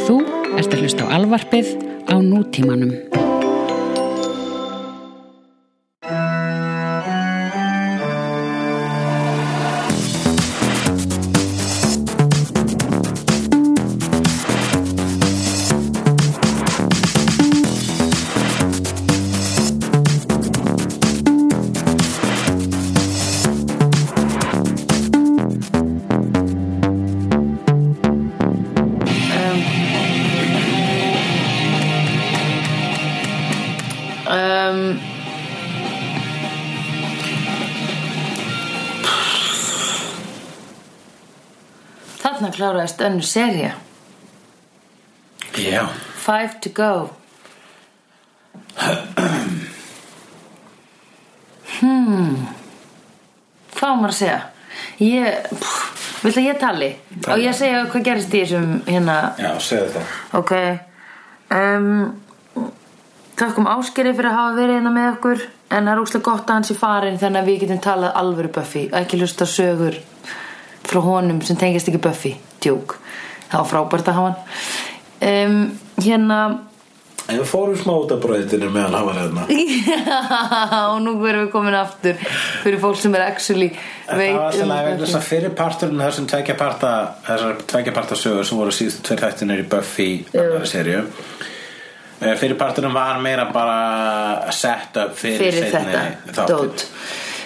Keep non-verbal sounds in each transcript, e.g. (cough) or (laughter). Ertu að hlusta á alvarpið á nútímanum. um, Þarna kláraðist önnu serja Já, Five to go Hmm Hvað á maður að segja? Ég, pff, viltu að ég tali? Tali. Og ég að segja hvað gerist í þessum hérna já, segðu það Ok um, Takkum um áskeri fyrir að hafa verið hérna með okkur En það er úkslega gott að hans í farin Þannig að við getum talað alvöru Buffy og Ekki hlusta á sögur frá honum sem tengist ekki Buffy Djúk, það var frábært að hafa hann um, Hérna (laughs) En við fórum smá út af brautinni meðan hann var hérna Já, og nú verðum við komin aftur Fyrir fólk sem er actually En veit það var um svona vegna Buffy. þess að fyrir parturinn þessum tvekja parta þessar tvekja parta sögur sem voru síðustu tveir þættinir í Buffy annari serju Eh, fyrir parturinn var meira bara set up fyrir, fyrir seinni þetta þáttinn. dót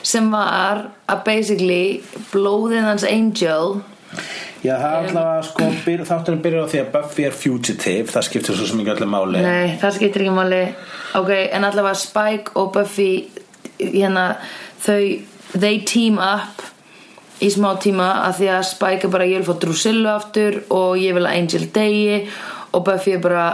sem var að basically blóðið hans Angel Já, það er alltaf sko, byr, þátturinn byrjar á því að Buffy er fugitive, það skiptir svo sem ekki öllu máli Nei, það skiptir ekki máli Ok, en allavega Spike og Buffy hérna, þau they team up í smá tíma að því að Spike er bara ég vil fá Drusillu aftur og ég vil að Angel deyi og Buffy er bara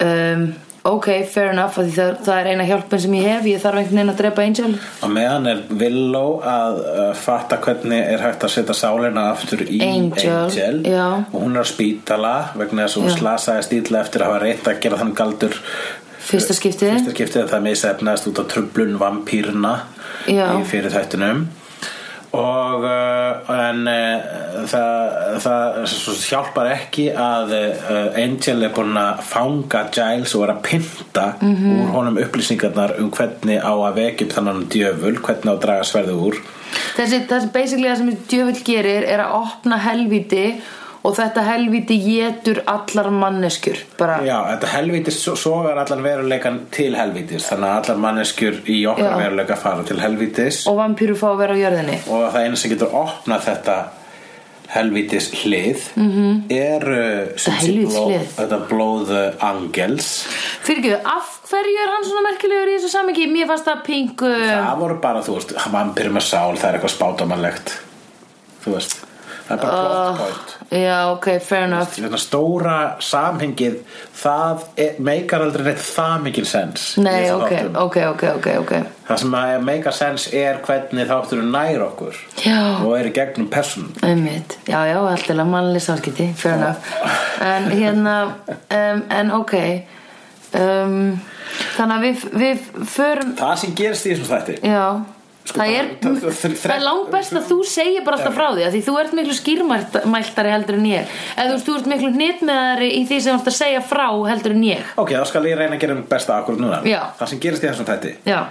um, ok, fair enough að því það, það er eina hjálpin sem ég hef ég þarf einhvern veginn að drepa Angel og meðan er Willow að uh, fatta hvernig er hægt að setja sálina aftur í Angel, já. og hún er á spítala vegna þess að hún Já. slasaði stíla eftir að hafa reynt að gera þann galdur fyrsta skiptið fyrsta skiptið að það misefnaðist út á tröblun vampýrna Já. í fyrir þættunum og uh, en uh, það, það svo hjálpar ekki að uh, Angel er búin að fanga Giles og er að pynta -hmm. Mhm. úr honum upplýsingarnar um hvernig á að vekja upp þannan djöful hvernig á að draga sverðu úr þessi, þessi basically það sem djöfull gerir er að opna helvíti og þetta helvíti getur allar manneskjur bara Já, þetta helvítis so- sogar allan veruleikan til helvítis þannig að allar manneskjur í okkar Já. veruleika fara til helvítis og vampýru fá að vera á jörðinni og það eina sem getur opnað þetta helvítis hlið mm -hmm. eru sem sé, Mhm. helvítis blóð- hlið. þetta blóð uh, angels Fyrirgeðu, af hverju er hann svona merkilegur í þessu samingi? Mér fannst það pingu það voru bara, þú veist, vampir með sál það er eitthvað spátamanlegt þú veist, það er bara plot point Já, ok, fair enough þetta stóra samhengið það er, meikar aldrei neitt það mikil sens í Nei, þessum ok, þáttum. ok, ok, ok, ok það sem að meikar sens er hvernig þátturinn nær okkur Já. og er í gegnum personum Einmitt. Já, já, allt er að mannlega samskipti Fair enough En hérna, um, en ok um, Þannig að við, við förum það sem gerist í þessum þætti Já það bara- er, Sko, það- það- það- það er langt best að þú segir bara alltaf frá því af því þú ert miklu skýrmæltari heldur en ég eða þú veist, þú ert miklu hnitmeðari í því sem þú ert að segja frá heldur en ég Ok, þá skal ég reyna að gera mér besta akkurat núna Já. Það sem gerist í þessum þætti Já,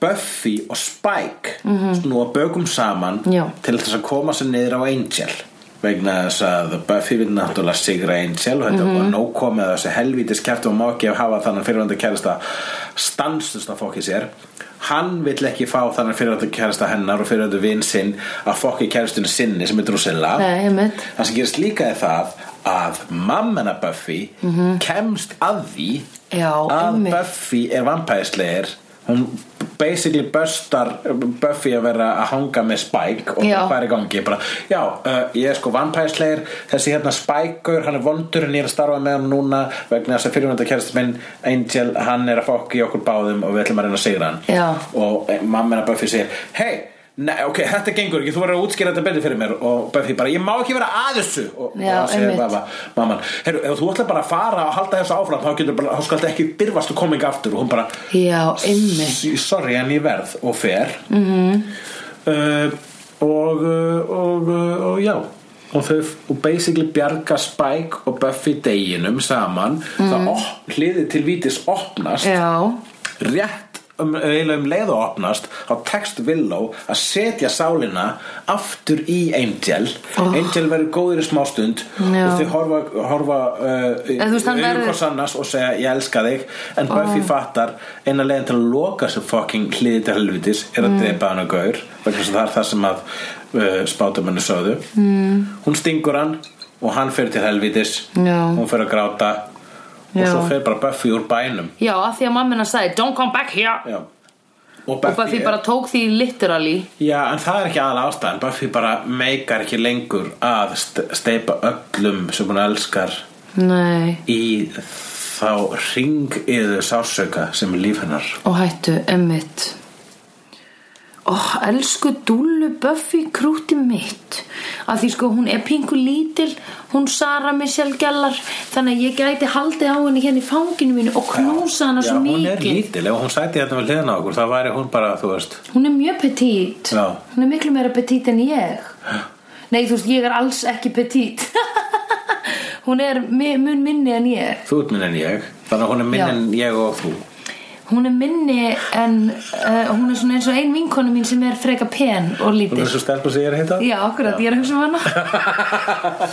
Buffy og Spike snúa bökum saman Mhm. Já. til þess að koma sér niður á Angel vegna þess að Buffy vil náttúrulega sigra Angel og þetta mm -hmm. Mhm. var nóg komið að þessi helvítis kæft og má ekki hafa þannig fyrirvandi kærasta stanslust að fokki sér hann vill ekki fá þannig fyrirvandi kærasta hennar og fyrirvandi vin sinn að fokki kærastinu sinni sem er drusilla nei, einmitt Það sem gerist líka er það að mammana Buffy Mhm. kemst að því Já, að einmitt. Buffy Ah, er vampæðislegir hún basically bustar Buffy að vera að hanga með Spike og Já. bara, hvað er í gangi bara, já, uh, ég er sko vampæðislegir þessi hérna Spike-gur, hann er vondur en ég er að starfa með hann núna vegna þess að fyrirvönda kærist minn Angel, hann er að fokka í okkur báðum og við ætlum að reyna að sigra hann Já. og mammina Buffy segir hei, nei, ok, þetta gengur ekki þú verður að útskýra þetta betur fyrir mér og Buffy bara, ég má ekki vera að þessu og, Já, og það segir einmitt. bara, mamman, heyrðu, ef þú ætlar bara að fara og halda þessu áfram, þá getur bara, þá skal þetta ekki dyrfast og koma ekki aftur og hún bara Já, einmitt "Sí, sorry, en ég verð og Eh, fer mm -hmm. uh, eh, og, uh, og, uh, og já og þau og basically bjarga Spike og Buffy deginum saman mm. það op- hliðið til vítis opnast Já, rétt um, eiginlega um leið og opnast þá tekst Willow að setja sálina aftur í Angel Angel verður góður í smástund Já. og þau horfa, horfa uh, En þú veist, hann verður- hvers annars og segja ég elska þig en Buffy fattar eina leiðin til að loka þessu fucking hliði til helvitis er Mm. að drepa hann og gaur vegna þess að það er það sem að uh, spátumenni sögðu mm. hún stingur hann og hann fer til helvitis Já. hún fer að gráta og Já. svo fer bara Buffy úr bænum já, að því að mammina sagði Don't come back here Já. Og Og Buffy bara tók því literally Já, en það er ekki aðal ástæðan Buffy bara meikar ekki lengur að st- steypa öllum sem hún elskar Nei í þá ring yður sásauka sem er líf hennar Og hættu, emmitt Ó, elsku dúllu Buffy krúti mitt að því sko hún er pingu lítil hún Sara Michelle Gellar þannig að ég gæti haldið á henni hérna í fanginu mínu og knúsa hana Já, svo hún er mikið lítil, ef hún sæti hérna við hliðina á okkur þá væri hún bara, þú veist hún er mjög petit Já. hún er miklu meira petit en ég nei þú veist ég er alls ekki petit (laughs) hún er mi- mun minni en ég þú ert minn en ég þannig að hún er minn Já. en ég og þú hún er minni en uh, hún er svona eins og ein vinkonu mín sem er freka pen og Hún lítil er svo stelpa sem ég er að heita (laughs) Já, akkurat, ég er að hugsa um hana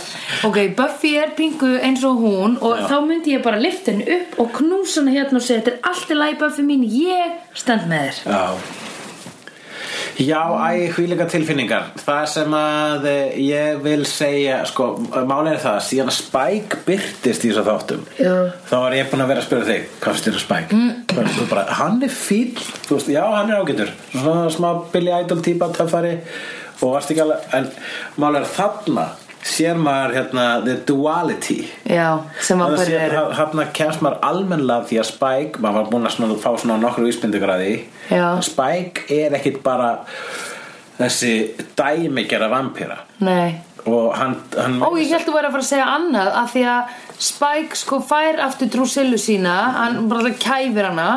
Ok, Buffy er pingu eins og hún og þá myndi ég bara lifta henni upp og knúsa henni hérna og segja þetta er allt í lagi Buffy mín, ég stend með þér Já Já, æ, hvíleika tilfinningar Það sem að eh, ég vil segja sko, málið er það síðan að Spike byrtist í þessu þáttum Já. þá var ég búin að vera að spyrja þig hvað finnst þér að Spike? Mm. Þú bara, hann er fíll, þú veist, já, hann er ágætur svona smá Billy Idol típa töffari og varst ekki alveg en málið er þarna sér maður hérna the duality Já, sem að Þannig bara að eru sé- þarna kemst maður almennlega því að Spike, maður var búin að svona, fá svona nokkru vísbyndugraði Já. Spike er ekkit bara þessi dæmigjara vampíra Nei og hann, hann Ó, ég held að vera að fara að segja annað að því að Spike sko fær aftur Drusillu sína, hann bara kæfir hana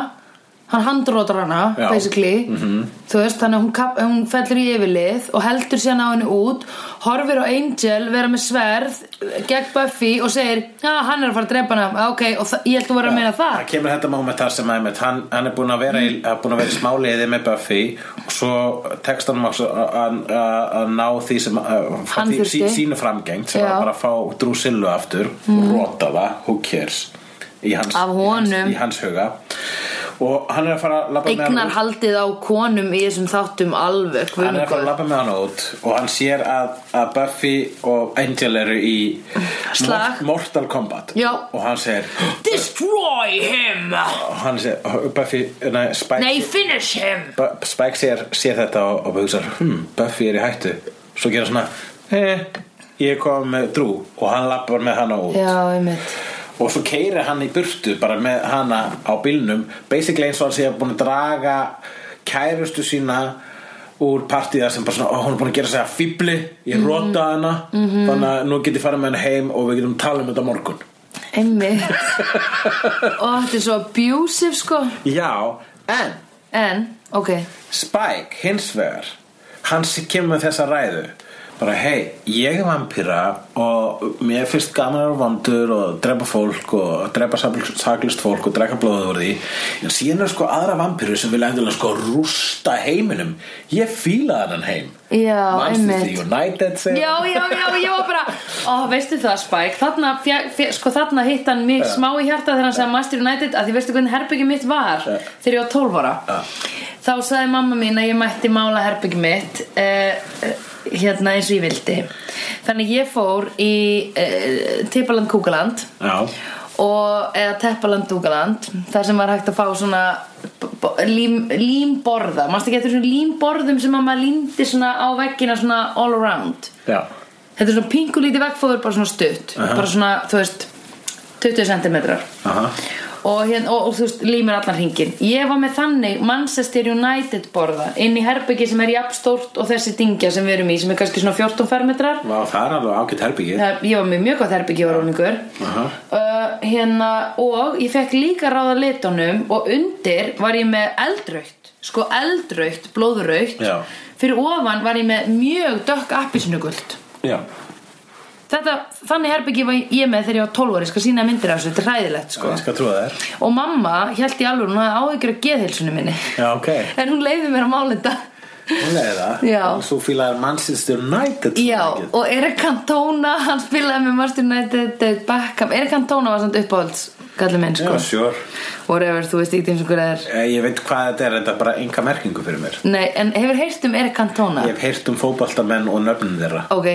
hann handrótar hana Já. Mhm. basically, -hmm. þú veist þannig að hún, kap, hún fellur í yfirlið og heldur síðan á henni út, horfir á Angel vera með sverð gegn Buffy og segir, já hann er að fara að drepa hana "Ah, ok, og þa- ég held að vera að meina það Mm. það kemur þetta moment þar sem einmitt, hann, hann er búin að vera, í- að búin að vera í smáliði með Buffy og svo tekst hann að, að, að, að ná því sem að, Hann því, sí, þurfti. sínu framgengt sem Já. Mm. var bara að fá Drusillu aftur og rota það, who cares í hans, í Af hans, honum. í hans huga og hann er að fara að labba með hann eignar út. haldið á konum í þessum þáttum alveg guð hann minn er að fara að góður. labba með hann út og hann sér að, að Buffy og Angel eru í Slag. Mor- Mortal Kombat Já. og hann segir, Destroy him og hann segir Buffy, nei, Spike Nei, finish him Bu- Spike sér, sér þetta og, og hugsar, hm, Buffy er í hættu svo gera svona eh, ég kom með Drew og hann labbar með hana út Já, einmitt og svo keiri hann í burtu bara með hana á bílnum basically eins og hann sé að búin að draga kærustu sína úr partíða sem bara svona, ó, hún er búin að gera sig að fýbli, ég rota hana þannig að nú get ég farið með hana heim og við getum talað um þetta á morgun (laughs) Einmitt Og þetta er svo abusive sko já, en En, ok Spike, hins vegar hann sem kemur með þessa ræðu bara hei, ég er vampýra og mér finnst gaman að vera vandur og drepa fólk og drepa saklist fólk og drekka blóðið úr því en síðan er sko aðra vampýru sem vilja endilega sko rústa heiminum ég fíla þannan heim Já, Manstu einmitt. því United segir Já, já, já, ég var bara Ó, veistu það Spike Þarna, fjö- fjö- sko, þarna hitt hann mig smá í hjarta þegar hann sagði Master United að því veistu hvernig herbyggi mitt var Ja. þegar ég var 12 ára Ja. Þá sagði mamma mín að ég mætti mála herbyggi mitt uh, hérna eins og ég vildi Þannig ég fór í uh, Tippaland Kúkaland já, og, eða Teppaland Dúkaland þar sem var hægt að fá svona b- b- lím, límborða mannstu ekki eftir svona límborðum sem að maður líndi svona á veggina svona all around já. þetta er svona pingulítið veggfóður bara svona stutt Aha. bara svona, þú veist 20 centimetrar Aha. og, hér, og, og þú veist, límir allan hringin ég var með þannig Manchester United borða inn í herbyggi sem er jafn stórt og þessi dingja sem við erum í sem er kannski svona 14 fermetrar Vá, það er alveg ágætt herbyggi Það, ég var með mjög gott herbyggi var róningur Aha. uh, hérna, og ég fekk líka ráða litunum og undir var ég með eldraukt sko eldraukt, blóðraukt Já. fyrir ofan var ég með mjög dökk appisnugult já, þetta, þannig herbyggi var ég með þegar ég var 12 ári, ég skal sína myndir af þessu, þetta er hræðilegt sko. Ég skal trúa þér og mamma held í alveg hún hafði áhyggjur af geðhilsunum minni (laughs) Já, ok. en hún leiði mér að mála þetta Hún leiði það Já. Og Þú fílaðir Manchester United svo já, mikið. og Erik Cantona hann spilaði með Master United David Beckham, Erik Cantona var samt uppáhalds kallið minn sko, Já, sure whatever, þú veist ekki eins og hver það er Eh, Ég veit hvað þetta er, þetta er bara enga merkingu fyrir mér nei, en hefur heyrt um Erik Cantona? Ég hef heyrt um fótbaltamenn og nöfnum þeirra ok,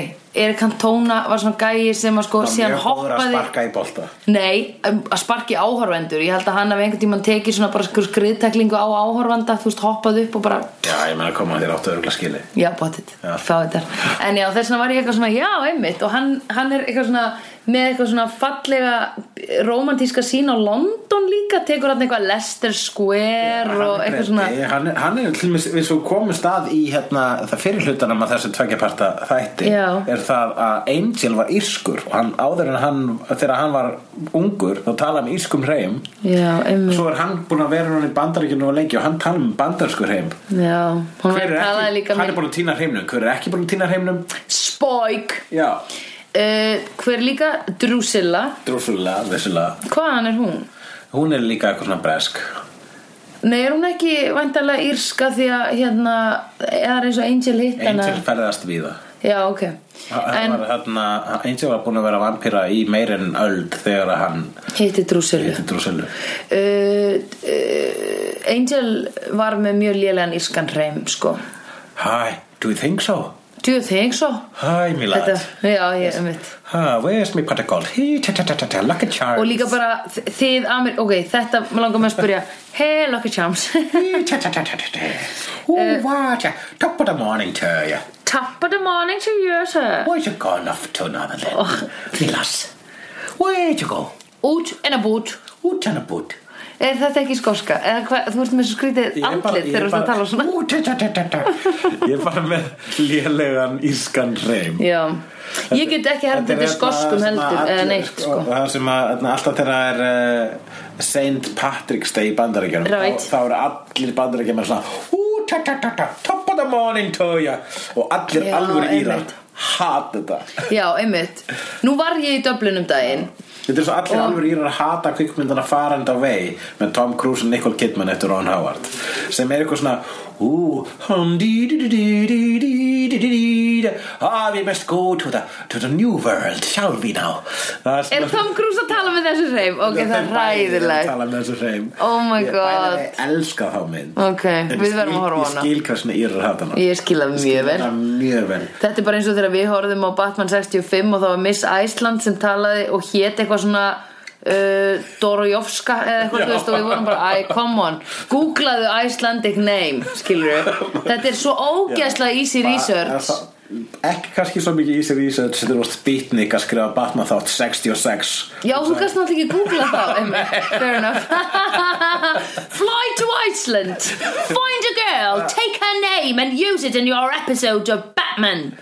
Erik Cantona var svona gæi sem að sko, Það er síðan mjög góður að hoppaði sparka í bolta Nei, um, að sparki áhorvendur Ég held að hann hafi einhvern tímann tekið svona bara skur skriðteklingu á áhorvanda Þú veist, hoppað upp og bara Já, ég meina koma þér áttu örgla skili Já, bóttið, Já. fá þetta En já, þess vegna var ég eitthvað svona, já, einmitt Og hann, hann er eitthvað svona með eitthvað svona fallega romantíska sín á London líka tekur hann eitthvað Leicester Square og Hann er eitthvað svona breyti, hann, er- hann er til dæmis, við svo komum stað í hérna, það fyrir hlutanum að þessu tveggjaparta þætti Já. er það að Angel var írskur og hann, áður en hann, þegar hann var ungur þá talaði um írskum hreim Já, einmitt, svo er hann búin að vera hann í bandaríkjunum og lengi og hann talaði um bandarískur hreim já Hún Hver var er talaði ekki, líka hann er með búin að týna hreimnum hver er ekki búin að týna hreimnum Spoik já, uh, Hver líka? Drusilla drúsulega, vissulega Hvaðan er hún? hún er líka eitthvað svona bresk Nei, er hún ekki væntanlega írska því að hérna, eða er eins og Angel hitt hana? Angel ferðast við það Já, ok. Hann En var þarna, Angel var búin að vera vampíra í meir en öld þegar að hann hitti Drusilla. hitti Drusilla Uh, uh, Angel var með mjög lélegan írskan hreim, sko. Hi, do you think so? Do you think so? Hi, my lad Þetta, já, ég, um mitt. Ha, where's my protocol? He, ta, ta, ta, ta, ta, look at Charles Og líka bara þ- þið, Amer, ok, þetta maður langar með að spyrja, hey, Lucky Charms, (laughs) He, ta, ta, ta, ta, ta, ta Eh. Who, what, uh, top of the morning to you top of the morning to you, sir. Where's you gone off to now then? Oh. Me lass Where'd you go? Út en að bút. Út hann að bút Er þetta ekki skoska? Eða hvað, þú ert með svo skrítið andlit þegar þú ert að tala svona. Ú, ta, ta, ta, ta, ta Ég er bara með lélegan ískan reym Já, ég get ekki hermt eftir hérna skoskum heldur eða neitt sko. Það sem að þarna, alltaf þegar það er uh, Saint Patrick's Day í bandaríkjunum Right. þá, þá eru allir bandaríkjum svona Ú, ta, ta, ta, ta, top of the morning to you og allir Já, alvöru írar einmitt. hata þetta Já, einmitt. Nú var ég í Dublin um daginn. Þetta er svo allir alvöru írar að hata kvikmyndana farand á vei með Tom Cruise og Nicole Kidman eftir Ron Howard sem er eitthvað svona Ú, hum, dí, dí, dí, dí, dí, dí, dí, dí, dí, Ah, we must go to the, to the new world, shall we now? Það svona- Er Tom Cruise að tala með þessu hreif? Ok, það er Þau bæði eru að ræðilegt. tala með þessu hreim Oh my god. Ég bæði elska þá mynd Ok, En við verðum að skil- horfa á hana. Ég skil hversna írur hatt hana Ég skila mjög vel. Hana Mjög vel Þetta er bara eins og þegar við horfðum á Batman 65 og það var Miss Iceland sem talaði og hét eitthvað svona uh, Dorojovska eða eitthvað, Já. þú veist, og við vorum bara, æ, come on, googlaðu Icelandic name, (laughs) skilur við. Þetta er svo ógeðslega easy Bara- research. það- Ekki kannski svo mikið easy research sem þú varst bitnik að skrifa Batman þátt 66 Já, þú gæst náttúrulega ekki googla (laughs) þá einmitt. Fair enough (laughs) Fly to Iceland Find a girl, take her name and use it in your episode of Batman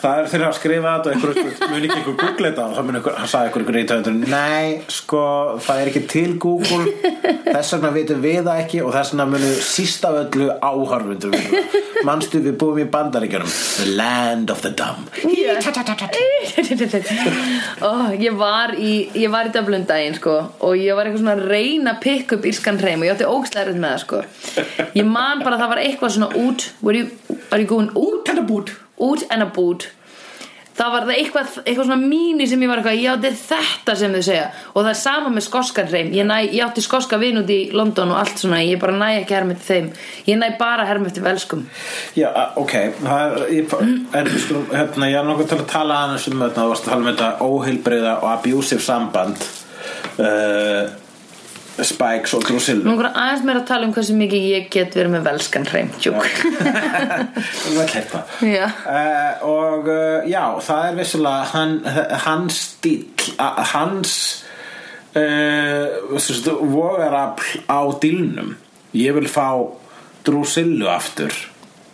Það er þeirra að skrifa þetta og einhver (laughs) mun ekki einhver Google þetta og þá mun einhver, hann sagði einhver reyndhöndur Nei, sko, það er ekki til Google þess vegna vitum við það ekki og þess vegna munum síst af öllu áhörfundur við það Manstu við búum í bandaríkjunum The land of the dumb oh, ég, var í, ég var í Dublin daginn sko, og ég var eitthvað svona að reyna að pikk upp írskan hreim og ég átti ógslæður með það sko. ég man bara að það var eitthvað svona út were you, are you going út Þetta bút út en að bút það var það eitthvað, eitthvað svona mínu sem ég var eitthvað, já þetta er þetta sem þau segja og það er sama með skoskan reym ég, næ, ég átti skoska vin út í London og allt svona ég bara næ ekki herm eftir þeim ég næ bara herm eftir velskum Já, a- ok, það er, ég, en sko, hérna, ég er nokkuð til að tala aðeins um þetta, þú varst að tala um þetta óheilbreyða og abusive samband uh, Spikes og Drusillu nú er aðeins meira að tala um hversu mikið ég get verið með velskan reym tjúk Þú veit hérna Já. Eh, Og uh, já, það er vissulega hann, hans stíll a- hans uh, vogarafl á dýlnum ég vil fá Drusillu aftur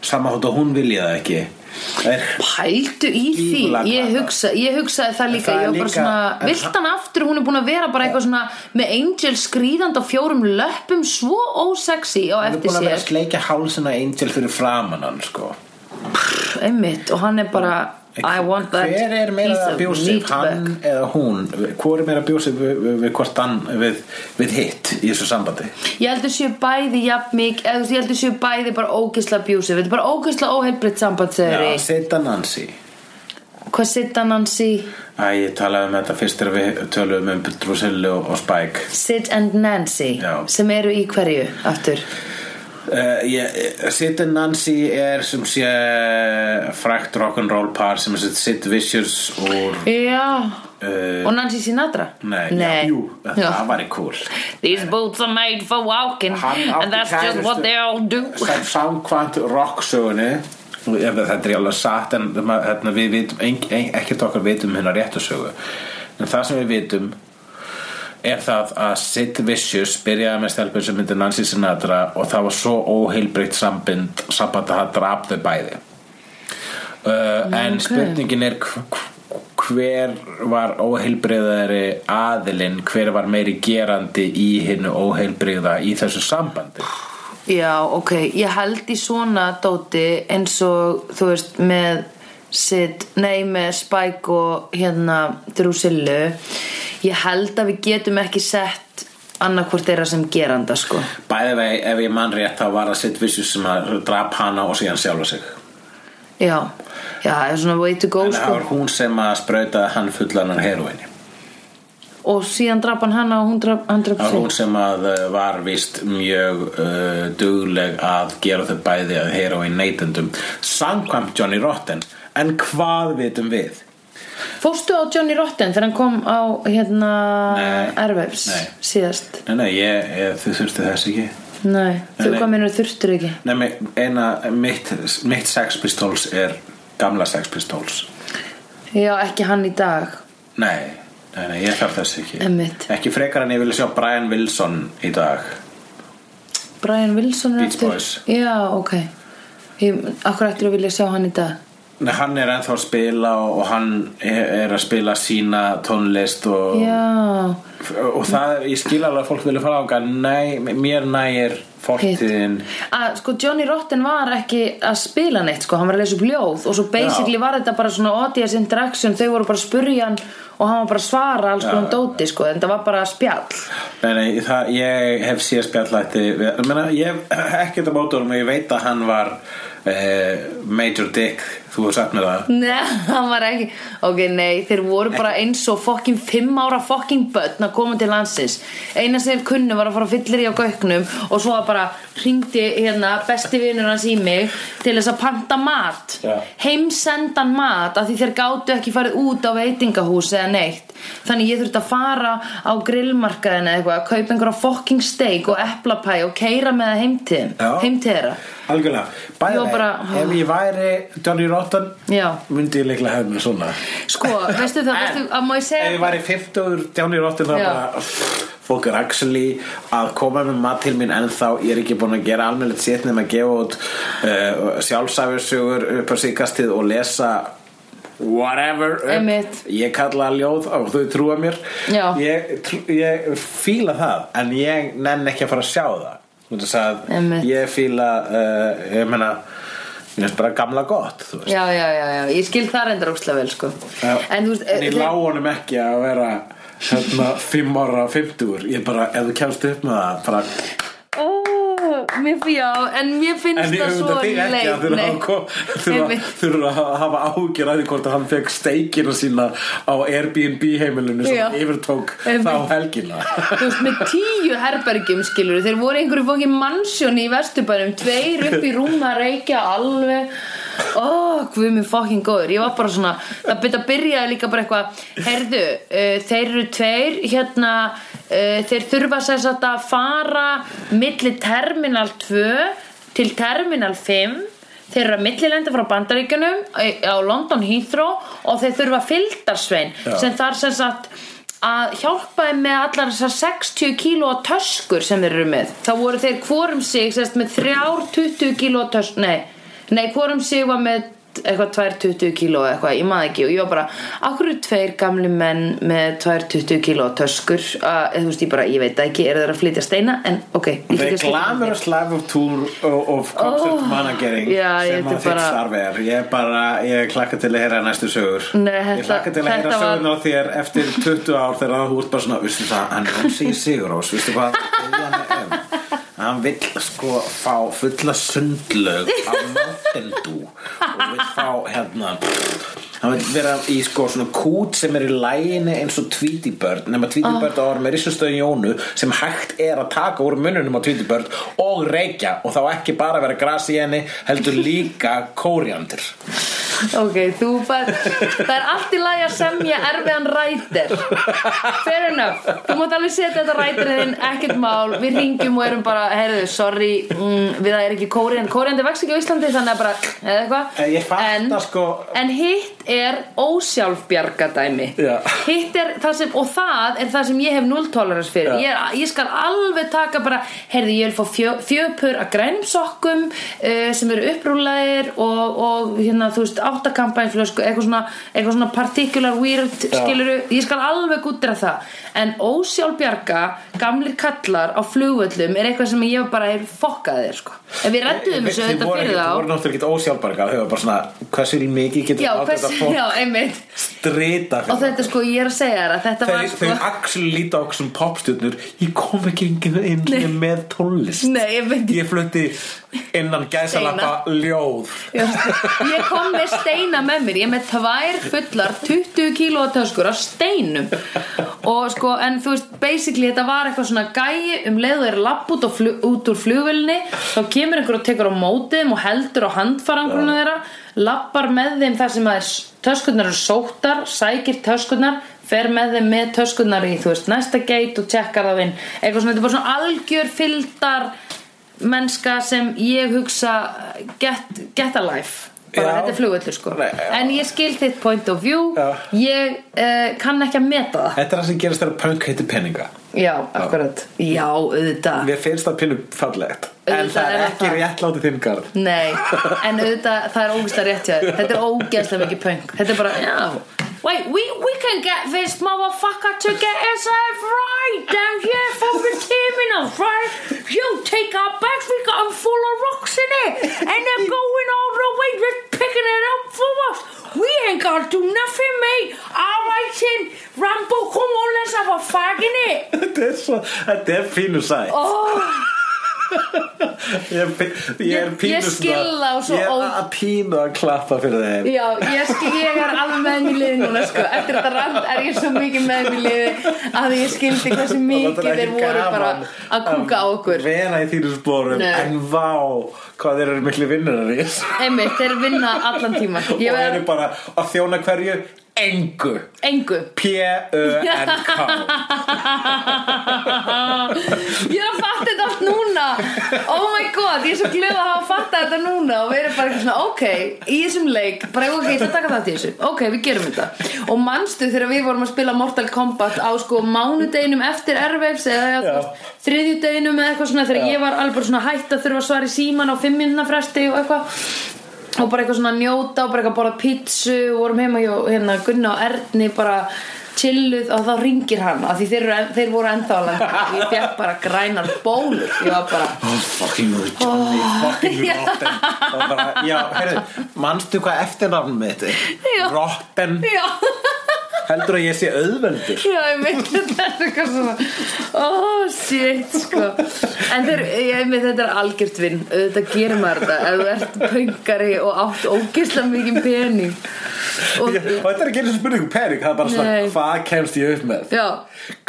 saman þótt að hún vilja það ekki Það er pældu í því Gífurlega ég, glatað. hugsa, ég hugsaði það líka, Það er ég var bara líka- svona en vilt hann aftur, hún er búin að vera bara eitthvað svona með Angel skrýðand á fjórum löppum svo ósexy á Hann er eftir búin að vera sér að sleikja hálsina Angel fyrir framan hann sko. einmitt og hann er bara I want that hver er meira piece of abusive meat hann back. eða hún hvor er meira abusive við, við, við hvort hann við, við hitt í þessu sambandi Ég heldur séu bæði jafn mikið eða þú veist, ég heldur séu bæði bara ógisla abusive Þetta er bara ógisla óheilbritt samband þegar Já, ég Sita Nancy Hvað sitta Nancy? Æ, ég talaði um þetta fyrst þegar við töluðum um Drusillu og, og Spike Sid and Nancy Já. sem eru í hverju aftur uh, Sid and Nancy er sem sé frækt rock'n'roll par sem er sem sagt Sid Vicious úr Já uh, Og Nancy Sinatra? Nei, Nei. Já, jú, það Já. var í cool These boots are made for walking Hann átti and that's just kærustu- what they all do Sam- Samkvæmt rocksögunni ef þetta er alveg satt en ma- hérna, við vitum, ein, ein, ekkert okkar vitum hérna réttu sögu en það sem við vitum er það að Sid Vicious byrjaði með stelpun sem myndi Nancy Sinatra og það var svo óheilbreytt sambund samband að það draf þau bæði uh, en spurningin er hv- hv- hver var óheilbreyðari aðilinn, hver var meiri gerandi í hinnu óheilbreyða í þessu sambandi Já, ok, ég held í svona dóti eins og þú veist með Sid, nei með Spike og hérna Drusillu ég held að við getum ekki sett annarkvort þeirra sem geranda sko Bæði vei, ef ég mann rétt þá var það Sid Vicious sem að drap hana og síðan sjálfa sig Já, já, það er svona way to go en það sko var hún sem að sprautaði hann fullanar heroinni og síðan draf hann hana og hún draf, hann draf það var hún sig sem að uh, var vist mjög uh, dugleg að gera þau bæði að heroin neytendum samkvæmt Johnny Rotten en hvað vitum við? Fórstu á Johnny Rotten þegar hann kom á hérna Nei. Airwaves Nei. síðast Nei, nei, ég, ég, þið þurftu þess ekki Nei, þú nei. hvað minnur þurftur ekki Nei, mi- eina, mitt, mitt sex pistols er gamla sex pistols Já, ekki hann í dag Nei, nei, nei, ég þarf þess ekki Einmitt. Ekki frekar en ég vil sjá Brian Wilson í dag Brian Wilson er Beach aftur Boys. Já, ok ég, Akkur ættir að vilja sjá hann í dag Nei, hann er ennþá að spila og, og hann er er að spila sína tónlist og, Já, og það, er- ég skil alveg að fólk vilja fara ánga Nei, mér nægir fortíðin að, Sko Johnny Rotten var ekki að spila neitt sko, hann var að lesa upp ljóð og svo basically Já. var þetta bara svona audience interaction þau voru bara að spurja hann og hann var bara að svara alls konar dóti sko, en það var bara spjall Nei, nei, það, ég hef síða spjallætti ég, meina, ég hef ekkert á mótunum og ég veit að hann var eh, Major Dick, þú hefur sagt mér það Nei, hann var ekki Ok, nei, þeir voru bara eins og fokkin fimm ára fokkin börn að koma til landsins Eina sem þeir kunnu var að fara fyllir í á göknum og svo bara hringdi hérna besti vinur hans í mig til þess að panta mat Já. heimsendan mat af því þeir gátu ekki farið út á veitingahús eða neitt þannig ég þurfti að fara á grillmarkaðina eða eitthvað að kaupa einhverja fokking steik og eplapæ og keira með það heimtíðum Já. heimtíðra Algjörlega, Ég bæði var bara- ef ég væri Johnny Rotten Já, myndi ég leiklega hefði mér svona (laughs) sko, veistu það, En, veistu, að má ég segja ef ég væri 50 Johnny Rotten þá Já. bara fólk er actually að koma með mat til mín ennþá ég er ekki búin að gera almennilegt sétt nema að gefa út uh, sjálfsæfisögur upp á síkastið og lesa whatever upp. Einmitt. ég kalla það ljóð og þau trúa mér Já. ég, trú- ég fíla það en ég nenn ekki að fara að sjá það Þú veist að Einmitt. ég fíla uh, ég meina ég finnst bara gamla gott þú veist já, já, já, já, ég skil það reyndar óslega vel sko. Já. en þú veist eh, ég þeir- lá honum ekki að vera hérna, fimm ára, fimmtúr ég bara, ef þú kemst upp með það bara, Ó, mér fyrir já, en mér finnst en ég það svo auðvitað þig ekki að þurfa að kom- þurfa- Einmitt. þurfa að hafa ágjur að því hvort að hann fekk steikina sína á Airbnb heimilinu sem Já. hann yfirtók Einmitt. þá helgina þú veist, með tíu herbergjum skilur þeir voru í einhverju fókin mansjón í vesturbænum tveir upp í rúm að reykja alveg ó, hvað mér fókin góður ég var bara svona, það byrja byrjaði líka bara eitthvað herðu, uh, þeir eru tveir hérna, uh, þeir þurfa sem sagt að fara milli terminal 2 til terminal 5 Þeir eru að millilenda frá bandaríkjunum eh, á London Heathrow og þeir þurfa fylgdarsvein Já. sem þar sem sagt að hjálpa þeim með allar þessar 60 kílóa töskur sem þeir um eru með þá voru þeir hvorum um sig sem sagt, með þrjár 20 kílóa töskur nei, nei, hvorum sig var með eitthvað 220 kíló eða eitthvað, ég maður ekki og ég var bara, akkur eru tveir gamli menn með 220 kíló töskur að, þú veist, ég bara, ég veit það ekki, eru þeir að flytja steina en ok, (laughs) ég The get ekki að steina glamorous level tour of concert Oh. managering Já, ég sem veit að þitt bara- starf er ég bara, ég klakka til að heyra næstu sögur Nei, ég þetta- klakka til að heyra þetta var- sögurnar var... þér eftir 20 ár þegar þú ert bara svona, veistu það, hann er hans í Sigurós veistu hvað hann er um hann vill sko fá fulla sundlög á Mountain Dew og vill fá hérna hann vill vera í sko svona kút sem er í læginu eins og tvítibörn nema tvítibörn oh. ára með rissustöðin Jónu sem hægt er að taka úr mununum á tvítibörn og reykja og þá ekki bara vera gras í henni heldur líka kóriandur ok, þú fær, það er allt í lagi að semja erfiðan rætir fair enough, þú mátt alveg setja þetta rætirinn þinn, ekkert mál við ringjum og erum bara, heyrðu, sorry mm, við það er ekki kóriðan, kóriðan það vex ekki á Íslandi þannig að bara, eða eitthvað Eh, ég fatta En- sko- en hitt er ósjálfbjargadæmi Já. hitt er það sem, og það er það sem ég hef nulltolerans fyrir ég, ég skal alveg taka bara, heyrðu ég vil fá fjö, fjöpur að grænum sokkum uh, sem eru upprúlaðir og, og hérna þú veist áttakampainflösku, eitthvað svona, eitthvað svona particular weird skiluru, ég skal alveg gúttra það, en ósjálfbjarga gamlir kallar á flugvöllum er eitthvað sem ég bara er fokkaðir sko. ef við redduðum þessu Þið þetta voru fyrir ekkert- þá voru náttúrulega ekki ósjálfbarga þau var bara svona, hversu mikið getur Já, látið hvers, þetta fólk (laughs) já, einmitt strita fyrir Og þetta sko, ég er að segja þér að þetta var þeir, (laughs) sko þeir actually líta okkur sem popstjörnur ég kom ekki enginn inn með tónlist Nei, ég veit ég flutti innan gæsalappa ljóð Ég kom með steina með mér Ég er með tvær fullar 20 kílóatöskur á steinum Og sko, en þú veist Basically þetta var eitthvað svona gæi Um leið og er lapp út, á flug, út úr flugvölinni Þá kemur einhver og tekur á mótið Og heldur á handfarangruna þeirra Lappar með þeim þar sem að er Töskurnar eru sóttar, sækir töskurnar Fer með þeim með töskurnar í Þú veist, næsta geit og tjekkar það inn Eitthvað svona, þetta er bara svona algjör fyldar mennska sem ég hugsa get, get a life bara Já. þetta er flugvöldur sko Nei, já. en ég skil þitt point of view Já. ég uh, kann ekki að meta það þetta er það sem gerast þegar punk heitir peninga já, akkurat, já, auðvitað mér finnst það pínu fallegt en Auðvitað það er er það ekki það. réttlátið þinn garð (laughs) nei, en auðvitað það er ógæslega rétt hjá þér þetta er ógæslega mikið punk þetta er bara, já Wait, we, we can get this motherfucker to get inside right down here from the terminal, right? You take our bags, we got them full of rocks in it, and they're going all the way, just picking it up for us. We ain't gonna do nothing, mate. All right, then, Rambo, come on, let's have a fag in it. þetta er, svo, þetta er pínu sætt Oh. ég, er pí- ég er Ég- pínu ég skil svona- þá svo ég er ó- að pínu að klappa fyrir þeim Já, ég, skil, ég er alveg með mér liði núna sko. Eftir þetta rand er ég svo mikið með mér liði að ég skildi hversu Og mikið það er þeir ekki voru gaman Um, bara að kúka á okkur vera í þínu spórum Nei. en vá hvað þeir eru miklu vinnurar í þessu Einmitt, þeir vinna allan tíma og Ég eru verð bara að þjóna hverju engu engu P-U-N-K (laughs) Ég er að fatta þetta allt núna Oh my god, ég er svo glöð að hafa fatta þetta núna og verið bara eitthvað svona, ok, í þessum leik bara ok, ég ætla að taka það til þessu ok, við gerum þetta og manstu þegar við vorum að spila Mortal Kombat á sko mánudeginum eftir Airwaves eða Já. eða, þriðjudeginum eða eitthvað svona þegar Já. ég var alveg bara svona hætt að þurfa að svara í síman á fimm minna fresti og eitthvað og bara eitthvað svona njóta og bara eitthvað borða pítsu og vorum heima hjá hérna Gunna og Erni bara chilluð og þá ringir hann af því þeir, eru, en- þeir voru ennþá alveg ég fekk bara grænar bólur ég var bara Oh, fucking Johnny, fucking já. Rotten og bara, já, heyrðu, manstu hvað eftirnafnum mitt er? Já. Rotten, já, (laughs) heldur að ég sé auðveldur já, ég myndi þetta er eitthvað svona oh shit sko en þeir, ég myndi þetta er algjört vinn auðvitað gerir maður þetta ef þú ert pöngari og átt ógisla mikið pening og og þetta er ekki einu spurningu pening það er bara svona, Nei. hvað kemst ég upp með já,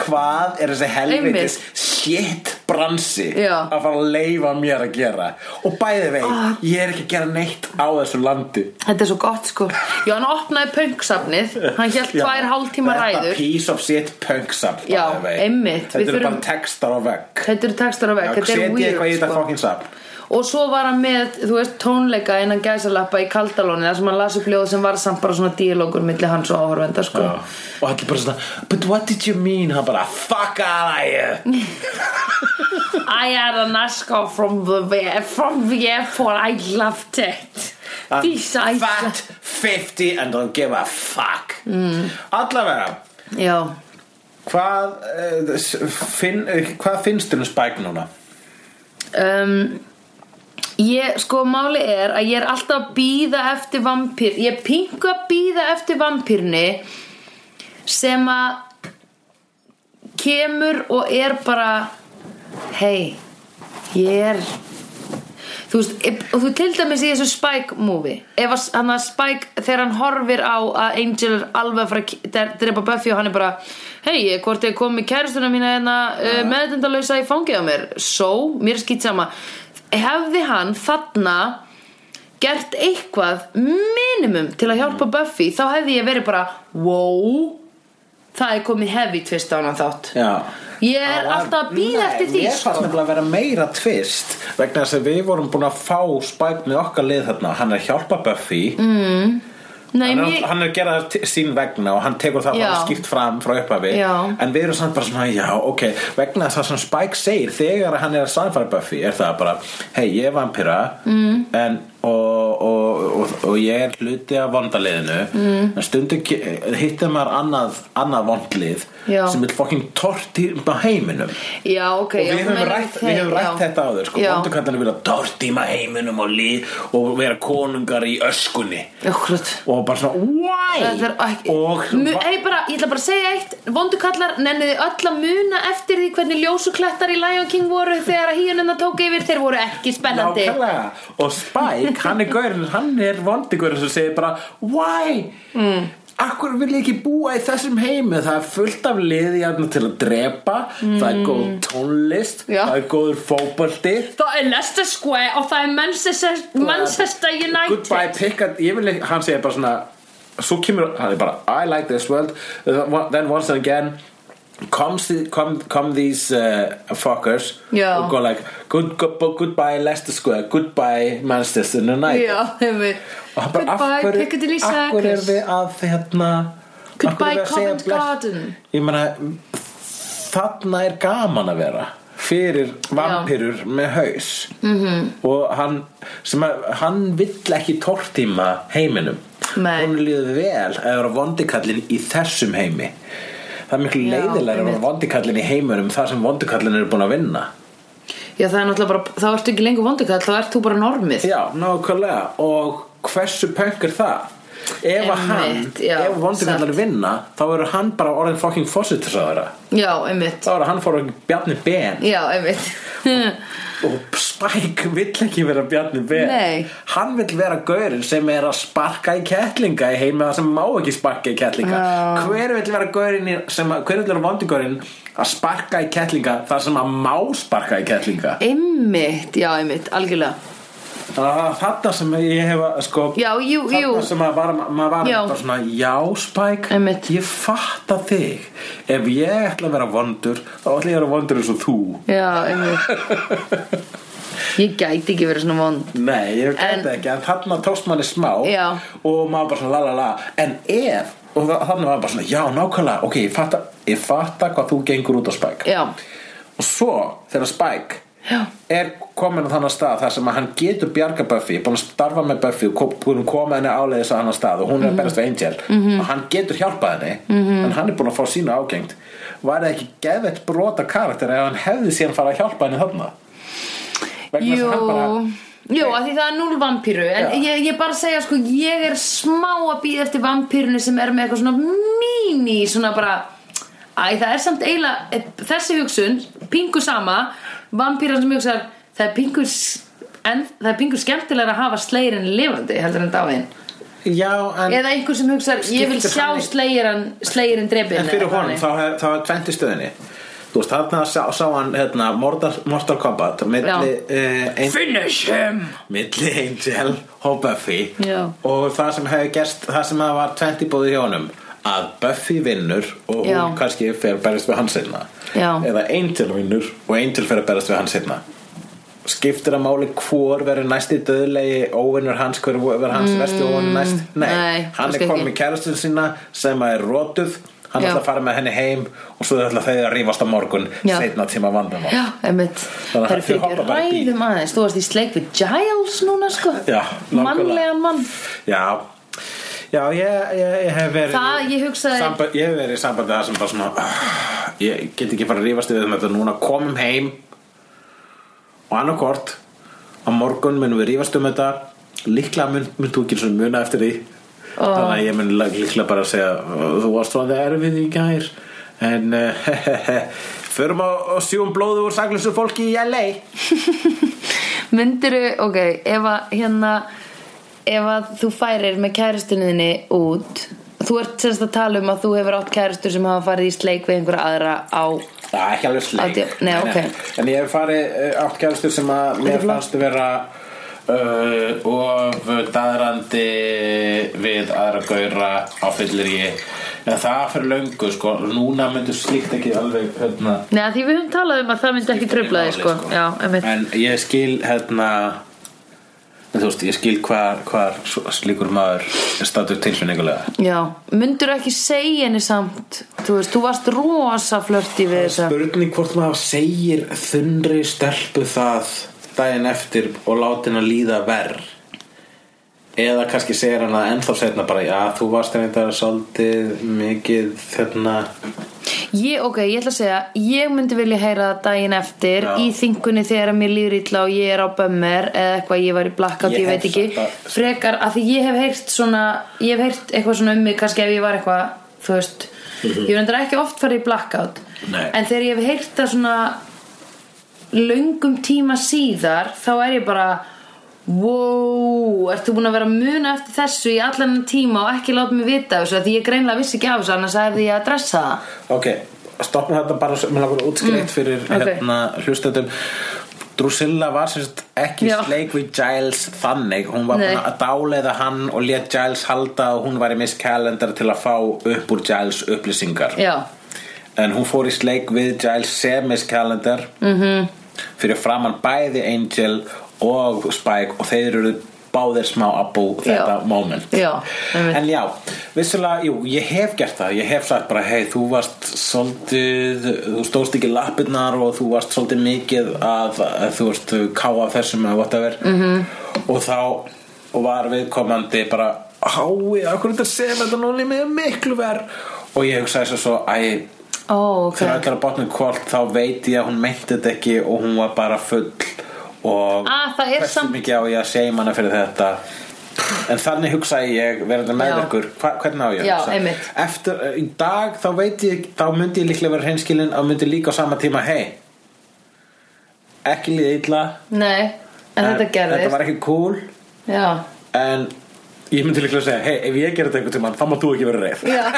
hvað er þessi helvitis Einmitt. shit bransi Já. Ah. að fara að leifa mér að gera og bæði vei, ég er ekki að gera neitt á þessu landi þetta er svo gott sko já, hann opnaði pöngsafnið hann hjælt tvær hálftíma þetta ræður piece of shit punksafn Já, by the way. einmitt, þetta við eru þurfum- bara textar á vegg Þetta eru textar á Já, vekk, þetta setjið er weird eitthvað í þetta sko. fucking safn Og svo var hann með, þú veist, tónleika innan gæsalappa í kaldalóni þar sem hann las upp ljóð sem var samt bara svona díalógur milli hans og áhörvenda sko Já. og allir bara svona but what did you mean, hann bara fuck all I am I had an ask off from the from the airport, I loved it I'm Dísa, fat, 50 and don't give a fuck mm. Allavega já Hvað, uh, finn, uh, hvað finnst þér um Spike núna? um, ég sko máli er að ég er alltaf að býða eftir vampýr ég er pingu að býða eftir vampýrni sem að kemur og er bara hei ég er þú veist, ef- og þú til dæmis í þessu Spike movie ef að hann að Spike þegar hann horfir á að Angel er alveg að fara að ki- dre- drepa Buffy og hann er bara hei, hvort ég kom með kæristuna mína hérna, uh, meðdendalausa í fangið á mér so, mér skýt sama hefði hann þarna gert eitthvað minimum til að hjálpa Mm. Buffy þá hefði ég verið bara, wow það er komið heavy twist á hann þátt Já ég er Það var- alltaf að býða Nei, eftir því sko. Mér fannst nefnilega að vera meira tvist vegna þess að við vorum búin að fá Spike með okkar lið þarna, hann er að hjálpa Buffy Nei, hann, er, mér- hann er að gera það til- sín vegna og hann tekur það Já. bara skýrt fram frá upphafi Já. en við erum samt bara svona, já, ok vegna þess að sem Spike segir þegar hann er að samfæra Buffy er það bara, hei, ég er vampíra mm. en, og, og, og, og ég er hluti af vondaliðinu mm. en stundum ke- hittir maður annað, annað vondlið Já. sem vil fokkin tortýrma heiminum Já, ok og við höfum rætt, við höfum rætt þetta áður sko, Já. vondukallarnir vilja tortíma heiminum og, líf, og vera konungar í öskunni Akkurat og bara svona why Þetta er ekki og Mu- Ei, bara, Ég ætla bara að segja eitt Vondukallar nenniði öll að muna eftir því hvernig ljósuklettar í Lion King voru þegar að híunina tók yfir þeir voru ekki spennandi nákvæmlega og Spike, hann er gaurinn hann er vondigurinn sem segir bara why mm. akkur vil ég ekki búa í þessum heimi það er fullt af liði hérna til að drepa það er góð tónlist Mm. Já. það er góður fótbolti Það er Leicester Square og það er Manchester, Manchester United goodbye pick a, ég vil ekki, hann segir bara svona svo kemur, hann er bara I like this world Uh, then once and again comes the, come, come these uh, fuckers Já. og go like good, good, goodbye Leicester Square goodbye Manchester United Já, einmitt. og hann bara Goodbye, af Piccadilly hverju af hverju Circus erum við að hérna af hverju Goodbye, erum við að segja Covent bless- Garden. ég meina þarna er gaman að vera fyrir vampirur með haus Mhm. -hmm. og hann sem að, hann vill ekki tortíma heiminum Nei. hún líður vel að vera vondikallin í þessum heimi það er miklu Já, leiðilega að vera einmitt. vondikallin í heiminum þar sem vondikallin eru búin að vinna Já, það er náttúrulega bara Þá ertu ekki lengur vondukall, þá ert þú bara normið Já, nákvæmlega og hversu punk er það? Ef að hann, Einmitt, já, ef vondugallar vinna þá verður hann bara orðin fucking fósitisraðara Já, einmitt þá verður hann fór að Bjarni Ben Já, (laughs) einmitt og Spike vill ekki vera Bjarni Ben Nei. hann vill vera gaurinn sem er að sparka í kettlinga í heimi það sem má ekki sparka í kettlinga Já. hver vill vera gaurinn í- sem, að- hver vill vera vondugurinn að sparka í kettlinga þar sem að má sparka í kettlinga Einmitt, já, einmitt, algjörlega þetta sem ég hef að sko Já, jú, þarna jú. sem maður var, maður var Já. bara svona já Spike, Einmitt. ég fatta þig ef ég ætla að vera vondur þá ætla ég að vera vondur eins og þú Já, einmitt Ég gæti ekki verið svona vond nei, ég En- gæti ekki, en þarna tókst manni smá Já. og maður bara svona la la la en ef, og þa- þarna var bara svona já, nákvæmlega, ok, ég fatta, ég fatta hvað þú gengur út á Spike Já, og svo þegar Spike Já. er komin á þannig stað þar sem að hann getur bjarga Buffy, búin að starfa með Buffy og kom- búin að koma henni áleiðis á hann stað og hún Mhm. er að berast við Angel og hann getur hjálpað henni en hann er búin að fá sína ágengt var það ekki geðvett brota karakter ef hann hefði síðan fara að hjálpa henni þarna vegna þess jú að hann bara Jú, að því það er núl vampíru En Já. ég, ég bara að segja, sko, ég er smá að býða eftir vampírunni sem er með eitthvað svona mini, svona bara Æ, það er samt eiginlega eh, Þessi hugsun, pingu sama Vampíran sem hugsar, það er pingu s- En það er pingu skemmtilega að hafa slegirinn lifandi, heldur en dáin já, en Eða einhver sem hugsar, ég vil Skiptir sjá hann í- slegirinn, slegirinn drepin en fyrir honum þá er, þá er tvent í stöðinni þú veist, þarna sá, sá hann hérna, Mortal, Mortal Kombat milli, uh, ein, Finish him! milli Angel og Buffy Já. og það sem hefði gerst það sem það var tvent í búið hjá honum að Buffy vinnur og hún Já. kannski fer að berast við hann sinna Já. eða Angel vinnur og Angel fer að berast við hann sinna skiptir að máli hvor verður næsti döðlegi óvinnur hans hver verður hans mm, versti óvinnur næst nei, nei, hann kannski er ekki. komin með kærastun sína sem að er rótuð hann Já. ætla að fara með henni heim og svo ætla þeir að rífast á morgun Já. seinna tíma vandamál Já, einmitt Þannig að Það er þau fyrir hoppa ekki bara í bíl. ræðum aðeins Þú varst í sleik við Giles núna sko Já, nákvæmlega. Mannlegan mann Já, já ég, ég, ég hef verið Það, ég hugsaði- samband, Ég hef verið í sambandi það sem bara svona ah, Ég get ekki bara að rífast við um þetta núna komum heim og annarkort á morgun munum við rífast um þetta líklega mun, mun þú ekki svona muna eftir því þannig að ég mun lag- líklega bara að segja þú varst svona erfið í gær en uh, (laughs) förum á, á sjúum blóðu úr saklausu fólki í LA Myndiru, ok, ef að hérna Ef að þú færir með kæristunniðinni út Þú ert semst að tala um að þú hefur átt kæristur sem hafa farið í sleik við einhverja aðra á Það er ekki alveg sleik Átján- nei, ok. En ég hef farið uh, átt kæristur sem að mér flott. fannst vera uh, of daðrandi við aðra gaura á fyllir ég en það fyrir löngu sko núna myndur slíkt ekki alveg hérna, Nei, að því við höfum talað um að það myndi ekki tröfla þig sko. Já, einmitt En ég skil hérna en þú veist, ég skil hvar, hvar svo- slíkur maður er statur tilfinningulega Já, myndiru ekki segja henni samt Þú veist, þú varst rosa flörti við þessa Spurning hvort maður segir þunri stelpu það daginn eftir og láti henn að líða verð eða kannski segir hann að ennþá setna bara já, þú varst einhvern svolítið mikið hérna." þérna Ég, ok, ég ætla að segja, ég myndi vilja heyra það daginn eftir Já. í þingunni þegar mér líður illa og ég er á bömmer eða eitthvað, ég var í blackout, Ég ég, hef veit ekki þetta- frekar, af því ég hef heyrt svona ég hef heyrt eitthvað svona um mig, kannski ef ég var eitthvað þú veist, ég er endur ekki oft farið í blackout Mhm. Nei. en þegar ég hef heyrt það svona löngum tíma síðar þá er ég bara wow, ert þú búin að vera að muna eftir þessu í allan þennan tíma og ekki láta mig vita af þessu, af því ég greinlega vissi ekki af þessu annars hefði ég að dressa það Ok, stoppum þetta bara sem langar að útskýra eitt fyrir Mm, ok. hérna hlustendum Drusilla var sérst ekki Já. sleik við Giles þannig, hún var Nei. búin að dáleiða hann og let Giles halda og hún var í Miss Calendar til að fá upp úr Giles upplýsingar Já, en hún fór í sleik við Giles Semis kalendar Mhm. -hmm. fyrir framann bæði Angel og Spike og þeir eru báðir smá abú þetta Já. moment Já, einmitt. en já, vissulega, jú, ég hef gert það ég hef sagt bara, hei, þú varst svolítið, þú stóðst ekki lappirnar og þú varst svolítið mikið að, að þú varst ká af þessum eða whatever Mhm. -hmm. og þá var viðkomandi bara hái, akkur þetta sem þetta núna með miklu verð og ég hugsaði svo svo, æ, ó, ok þegar ætlar að botna kvöld þá veit ég að hún meinti þetta ekki og hún var bara full og Ah, það er hversu samt- mikið á ég að segja hana fyrir þetta en þannig hugsaði ég verðandi með Já. ykkur, hva, hvernig á ég að Já, hugsa? einmitt. eftir, eh, í dag þá veit ég þá myndi ég líklega vera hreinskilin og myndi líka á sama tíma, hei ekki líða illa Nei, en þetta gerðist þetta var ekki cool Já, en ég myndi líklega segja, hei, ef ég gerði þetta einhvern tímann þá má þú ekki vera reið (laughs) já (laughs)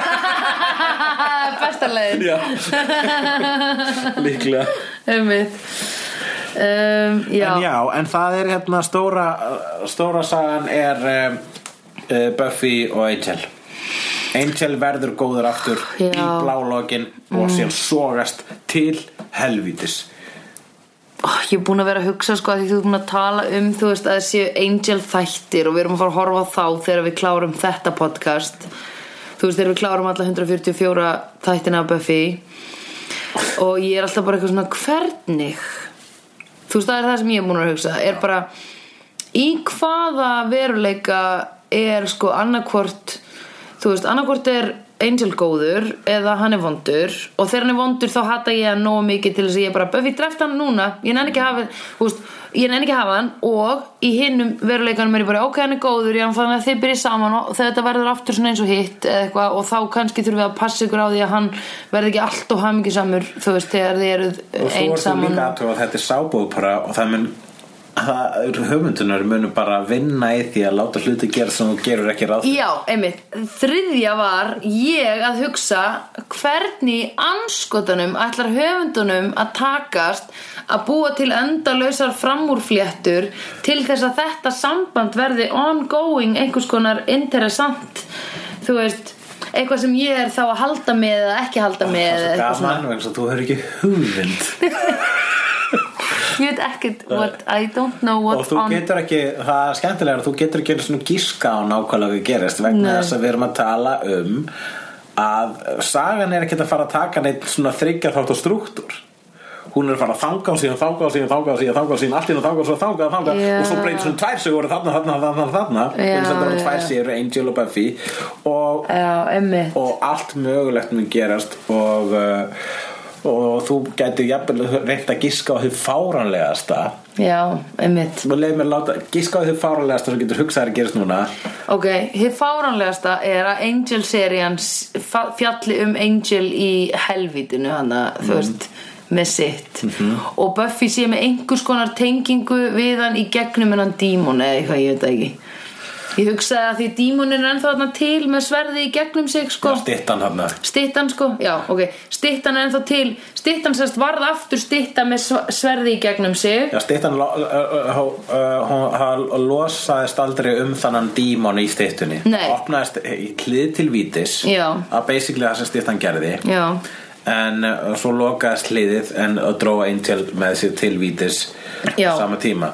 Bestarlegin (laughs) Já. líklega Einmitt um, Já, En já, en það er hérna stóra stóra sagan er um, uh, Buffy og Angel Angel verður góður aftur Já. Mm. í blálogin og síðan sogast til helvítis Ó, Ég er búin að vera að hugsa sko að því þú er búin að tala um þú veist að það séu angel þættir og við erum að fara að horfa á þá þegar við klárum þetta podcast þú veist þegar við klárum alla 144 þættina af Buffy og ég er alltaf bara eitthvað svona hvernig þú veist það er það sem ég er búin að hugsa er bara í hvaða veruleika er sko annarkvort þú veist annarkvort er Angel góður eða hann er vondur og þegar hann er vondur þá hata ég hann nógu mikið til þess að ég bara Buffy dreft hann núna ég nenni ekki að hafa þú veist, ég nenni ekki að hafa hann og í hinnum veruleikanum er ég bara ok hann er góður ég fann að þið byrja saman og þegar þetta verður aftur svona eins og hitt eða eitthvað og þá kannski þurfum við að passa ykkur á því að hann verði ekki allt og hamingisamur þú veist þegar þið eruð og þú ert þú einsaman líka aðtöfa að þetta er sábúðpara og það mun það eru höfundunar munu bara vinna í því að láta hluti gera sem þú gerur ekki ráð fyrir. Já, einmitt. Þriðja var ég að hugsa hvernig í anskotanum ætlar höfundunum að takast að búa til endalausar framúrfléttur til þess að þetta samband verði ongoing einhvers konar interessant. Þú veist, eitthvað sem ég er þá að halda með eða ekki halda með það eða er svo eitthvað gaman svona. vegna þess að þú hefur ekki hugmynd Ég veit ekkert what I don't know og what þú on getur ekki, það er skemmtilega þú getur ekki einu svona gíska á nákvæmlega hvað gerist vegna Nei. þess að við erum að tala um að sagan er ekkert að fara að taka neitt svona þryggja þátt og struktúr hún er að fara að þanga og síðan þanga og síðan þanga og síðan þanga og síðan allt inn að þanga og svo þanga og þanga Já. og svo breytir svona tvær sögur þarna, þarna, þarna, þarna Já, eins og þetta voru já, tvær já. séru, Angel og Buffy og Já, emmi og allt mögulegt mun gerast og uh, og þú gæti jafnvel reynt að giska á því fáranlegasta Já, emmitt og leið mér að láta giska á því fáranlegasta sem getur hugsað þér að gerast núna Ok, hér fáranlegasta er að Angel serían s- fa- fjalli um Angel í helvítinu hana, þú veist, með sitt og Buffy sé með einhvers konar tengingu við hann í gegnum hennan dímon eða eitthvað, ég veit það ekki Ég hugsaði að því dímonin er ennþá þarna til með sverði í gegnum sig sko stittan hann Stittan sko, já, ok Stittan er ennþá til, stittan sérst varð aftur stitta með sv- sverði í gegnum sig Já, stittan lo- uh, uh, uh, uh, hún- hann losaðist aldrei um þannan dímon í stittunni Nei. opnaðist í hlið til vítis Já. að basically það sem stittan gerði Já, en uh, svo lokaðist hliðið en og dróa Angel með sér tilvítis Já. sama tíma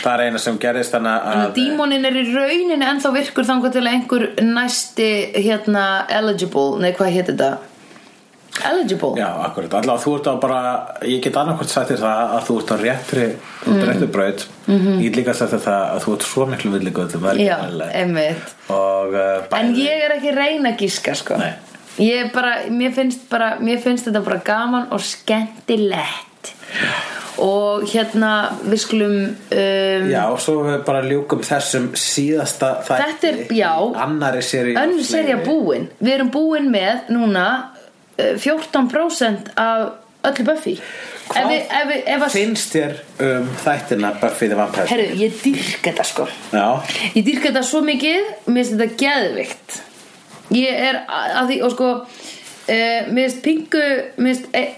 það er eina sem gerðist þannig að dímonin er í rauninni ennþá virkur þangar til að einhver næsti hérna eligible, nei hvað hétt þetta? Eligible? já, akkurat, allavega þú ert á bara ég get annarkvort sagt þér það að þú ert á réttri þú Mm. ert á réttri braut -hmm. ég get líka sagt þér það að þú ert svo miklu villigöðum Mhm. Já, einmitt og uh, En bæði- ég er ekki að reyna að gíska sko Nei. Ég er bara, mér finnst bara, mér finnst þetta bara gaman og skemmtilegt Og hérna, við skulum um, Já, og svo við bara ljúkum þessum síðasta þætti Þetta er- já. Annari seri önnur serja búin Við erum búin með núna eh, 14% af öllu Buffy Ef við, ef við, ef að Finnst þér um þættina Buffy the Vampire Slayer? Herru, ég dýrka þetta sko Já, Ég dýrka þetta svo mikið Mér finnst þetta geðvikt Ég er að að því og sko uh, Mér finnst pingu Mér finnst e,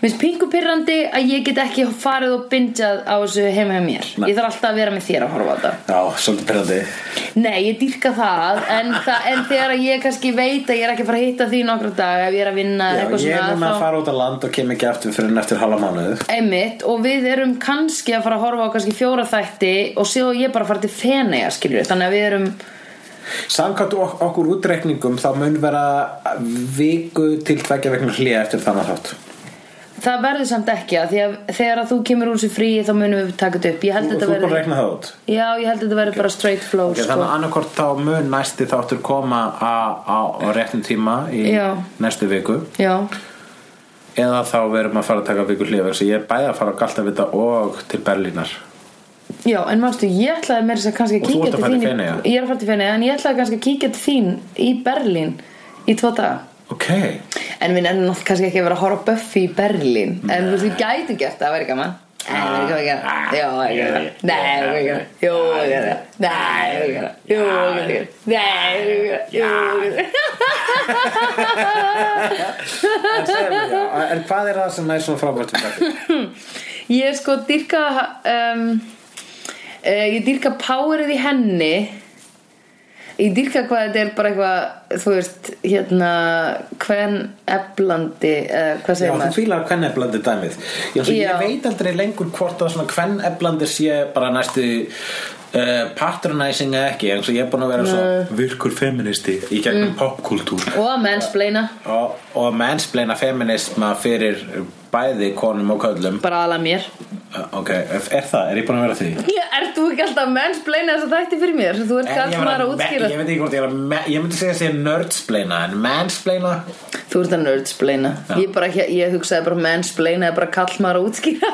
Mér finnst pingu pyrrandi að ég get ekki farið og bingað á þessu heima hjá mér Nei. Ég þarf alltaf að vera með þér að horfa á þetta já, svolítið perandi Nei, ég dýrka það en, það, en þegar ég kannski veit að ég er ekki að fara að hitta því nokkra dag ef ég er að vinna Já, eitthvað ég er núna svona að fara út á land og kem ekki aftur fyrir en eftir halva mánuð Einmitt, og við erum kannski að fara að horfa á kannski fjóra þætti og síðan og ég bara að fara til feneja, skilur við þannig að við erum, Samkvæmt ok okkur útreikningum þá mun vera viku til tveggja vegna hlýja eftir þannig þátt það verður samt ekki að því að þegar að þú kemur úr þessu fríi þá munum við taka þetta upp, ég held Þú að þú þetta bara verður reikna það út já, ég held að þetta verður bara straight flow okay, sko. Þannig annarkort þá mun næsti þáttur koma á, á, á réttum tíma í Já. næstu viku já, eða þá verum að fara að taka viku hlýja vegna sem ég er bæði að fara á Galtavita og til Berlínar já, en manstu, ég ætlaði meira þess að kannski Og að þú ert kíkja að til fara þín til í- Feneyja? ég er að fara til feneja, en ég ætlaði kannski að kíkja til þín í Berlín í tvo daga (laughs) Ok, En við nefnum nátt kannski ekki að vera að horfa á Buffy í Berlín En þú veist, við gætum gert það, það væri gaman Nei, það væri gaman að gera það. Jó, það væri gaman að gera það. Nei, það væri gaman að gera það. Jó, það væri gaman að gera það. Nei, það væri gaman að gera það. Jú, það væri gaman að gera það. Nei, það væri gaman að gera það. Jú, það væri gaman að gera en, segðu mér, já, en hvað er það sem er svona frábært við Berlín? það. Ég sko dýrka um, uh, Ég dýrka powerið í henni Ég dýrka hvað þetta er bara eitthvað Þú veist, hérna Hvern eblandi uh, Hvað Já, segir þú maður? fílar kvenneblandi dæmið Já, svo Já. Ég veit aldrei lengur hvort að svona kvenneblandi sé bara næstu uh, patronizing eða ekki eins og ég er búin að vera svo virkur feministi í gegnum Mm. popkultúr Og að mennsbleina og, og mennspleina feminisma fyrir bæði konum og köllum Bara aðla mér Uh, ok, er það? Er ég búin að vera því? Já, ert þú ekki alltaf að mennsbleina þess að þætti fyrir mér? Þú ert Er ég kall að vera maður að me- útskýra Ég veit ekki hvort ég er að me- Ég myndi segja að segja nerdsplaina en mansplaina (laughs) Þú ert að nerdsbleina ég, bara, ég, ég hugsaði bara mennsbleina eða bara kall maður að útskýra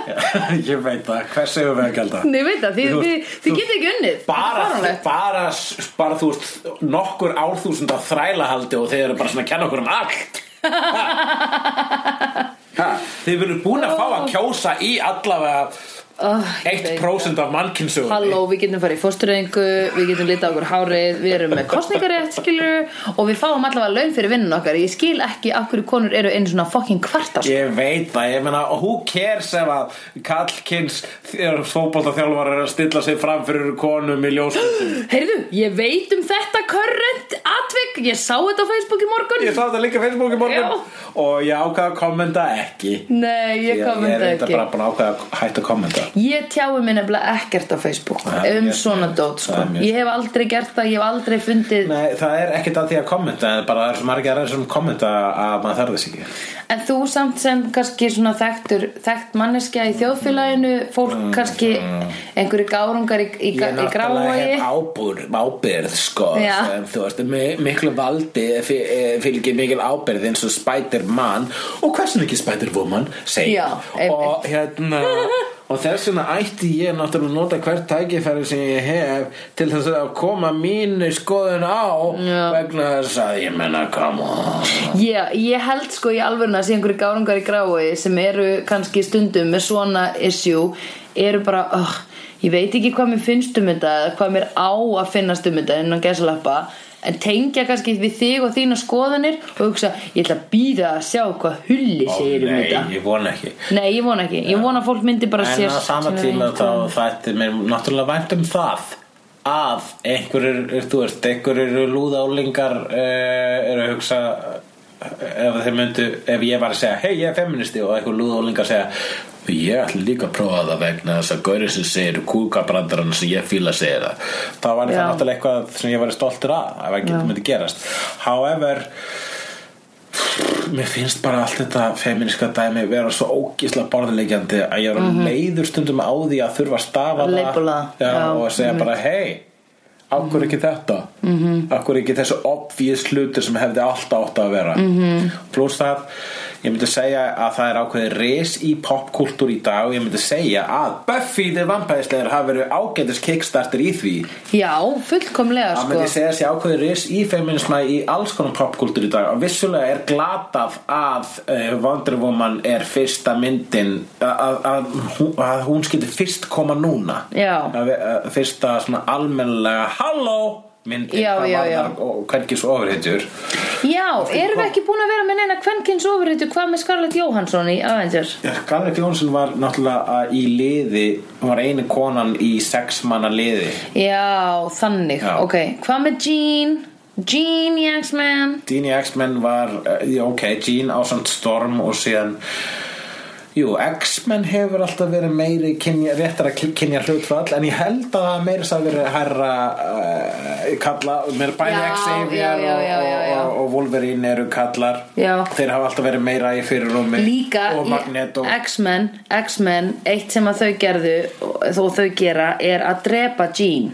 Ég veit það, hvers hefur við að gælda? (laughs) Nei, ég veit það, þið, Þú- þið, þið þú- getið ekki unnið bara, (laughs) Þetta er fáránlegt. (laughs) bara, bara þú veist nokkur árþúsund á þrælahaldi og þeir eru bara svona að kenna okkur um allt ha. Ha. þið verður búin að fá að kjósa í allavega oh, ég veit. 1% af mannkynnsögunni Halló, við getum farið í fóstureyðingu, við getum litað okkur hárið, við erum með kostningarétt, skilur og við fáum allavega laun fyrir vinnun okkar. Ég skil ekki af hverju konur eru einu svona fucking kvartast. Ég veit það, ég meina, who cares ef að kallkins fótboltaþjálfar er að stilla sig fram fyrir konum í ljósmyndum Heyrðu, ég veit um þetta körrent atvik, ég sá þetta á Facebook í morgun Ég sá þetta líka á Facebook í morgun Já. og ég ákvað að kommenta ekki Nei, ég, Ég ég er kommenta reynda ekki bara búin að ákvað að hætta að kommenta Ég tjái mér nefnilega ekkert á Facebook Það er um mjög- svona dót sko. það er mjög- Ég hef aldrei gert það, ég hef aldrei fundið Nei, það er ekkert að því að kommenta en bara það er svo margir aðeins sem kommenta að maður þarf þess ekki En þú samt sem kannski svona þekktur þekkt manneskja í þjóðfélaginu fólk kannski einhverju gárungar í, Mm, í, Ég í náttúrulega gráfói hef ábúr, ábyrð sko, Já. sem, þú veist, mi- miklu valdi fy- eh, fylgir mikil ábyrð eins og Spider-Man og hversin ekki Spider-Woman segir Já, einmitt. og hérna (laughs) og þess vegna ætti ég náttúrulega að nota hvert tækifæri sem ég hef til þess að koma mínu skoðun á Já. vegna þess að ég menna come on Já, ég held sko í alvörna að sé einhverju gárungar í grái sem eru kannski stundum með svona issue eru bara, oh, ég veit ekki hvað mér finnst um þetta eða hvað mér á að finnast um þetta innan gæsalappa en tengja kannski við þig og þína skoðanir og hugsa, ég ætla að býða að sjá hvað hulli Ó, segir um Nei, þetta ég vona ekki Nei, ég vona ekki, ég vona að fólk myndi bara En sér á sama sína tíma eigin þá skoðun. þætti mér náttúrulega vænt um það að einhverjir, þú veist, einhverjir lúðálingar uh, eru að hugsa eh, ef þeir myndu, ef ég var að segja hei, ég er feministi og einhver lúðálingar segja ég ætla líka að prófa það vegna þess að gaurið sem segir kúkabrandarann sem ég fíla segir það þá var Já. það náttúrulega eitthvað sem ég var stoltur að ef ekki Já. það myndi gerast however Mér finnst bara allt þetta feminiska dæmi vera svo ógísla borðleikjandi að ég er mm leiður stundum á því að þurfa að stafa Að labela, já, já, og að segja bara hei, ákvör ekki þetta -hmm. ákvör ekki þessu obvious hlutur sem hefði alltaf átt að vera mm -hmm. pluss það, ég myndi segja að það er ákveðið res í popkultúr í dag og ég myndi segja að Buffy the Vampire Slayer hafi verið ágætis kickstarter í því Já, fullkomlega Það myndi sko ég segja sé ákveðið ris í feminisma í alls konar popkultur í dag og vissulega er glatað að uh, Wonder Woman er fyrsta myndin að, að, að, að hún skildi fyrst koma núna Já. að, við- að fyrsta svona almennlega halló myndin Já, hvað já, já. varðar og hvernig svo ofurhetjur Já, erum við ekki búin að vera með neina kvenkins ofurhýttu hvað með Scarlett Johansson í Avengers? Skarlett Jónsson var náttúrulega að í liði hún var einu konan í sex manna liði Já, þannig, Já. ok Hvað með Jean? Jean í X-Men Dean í X-Men var eh, já, ok, Jean á samt Storm og síðan Jú, X-Men hefur alltaf verið meiri kynja, réttara ky- kynja hlutfall en ég held að það meiri það verið herra uh, kalla, meira bæði Já, já, Xavier já, og, já, já, já. og, og Wolverine eru kallar Já. þeir hafa alltaf verið meira í fyrirrúmi Líka og í Magneto X-Men X-Men, eitt sem að þau gerðu og þó þau gera er að drepa Jean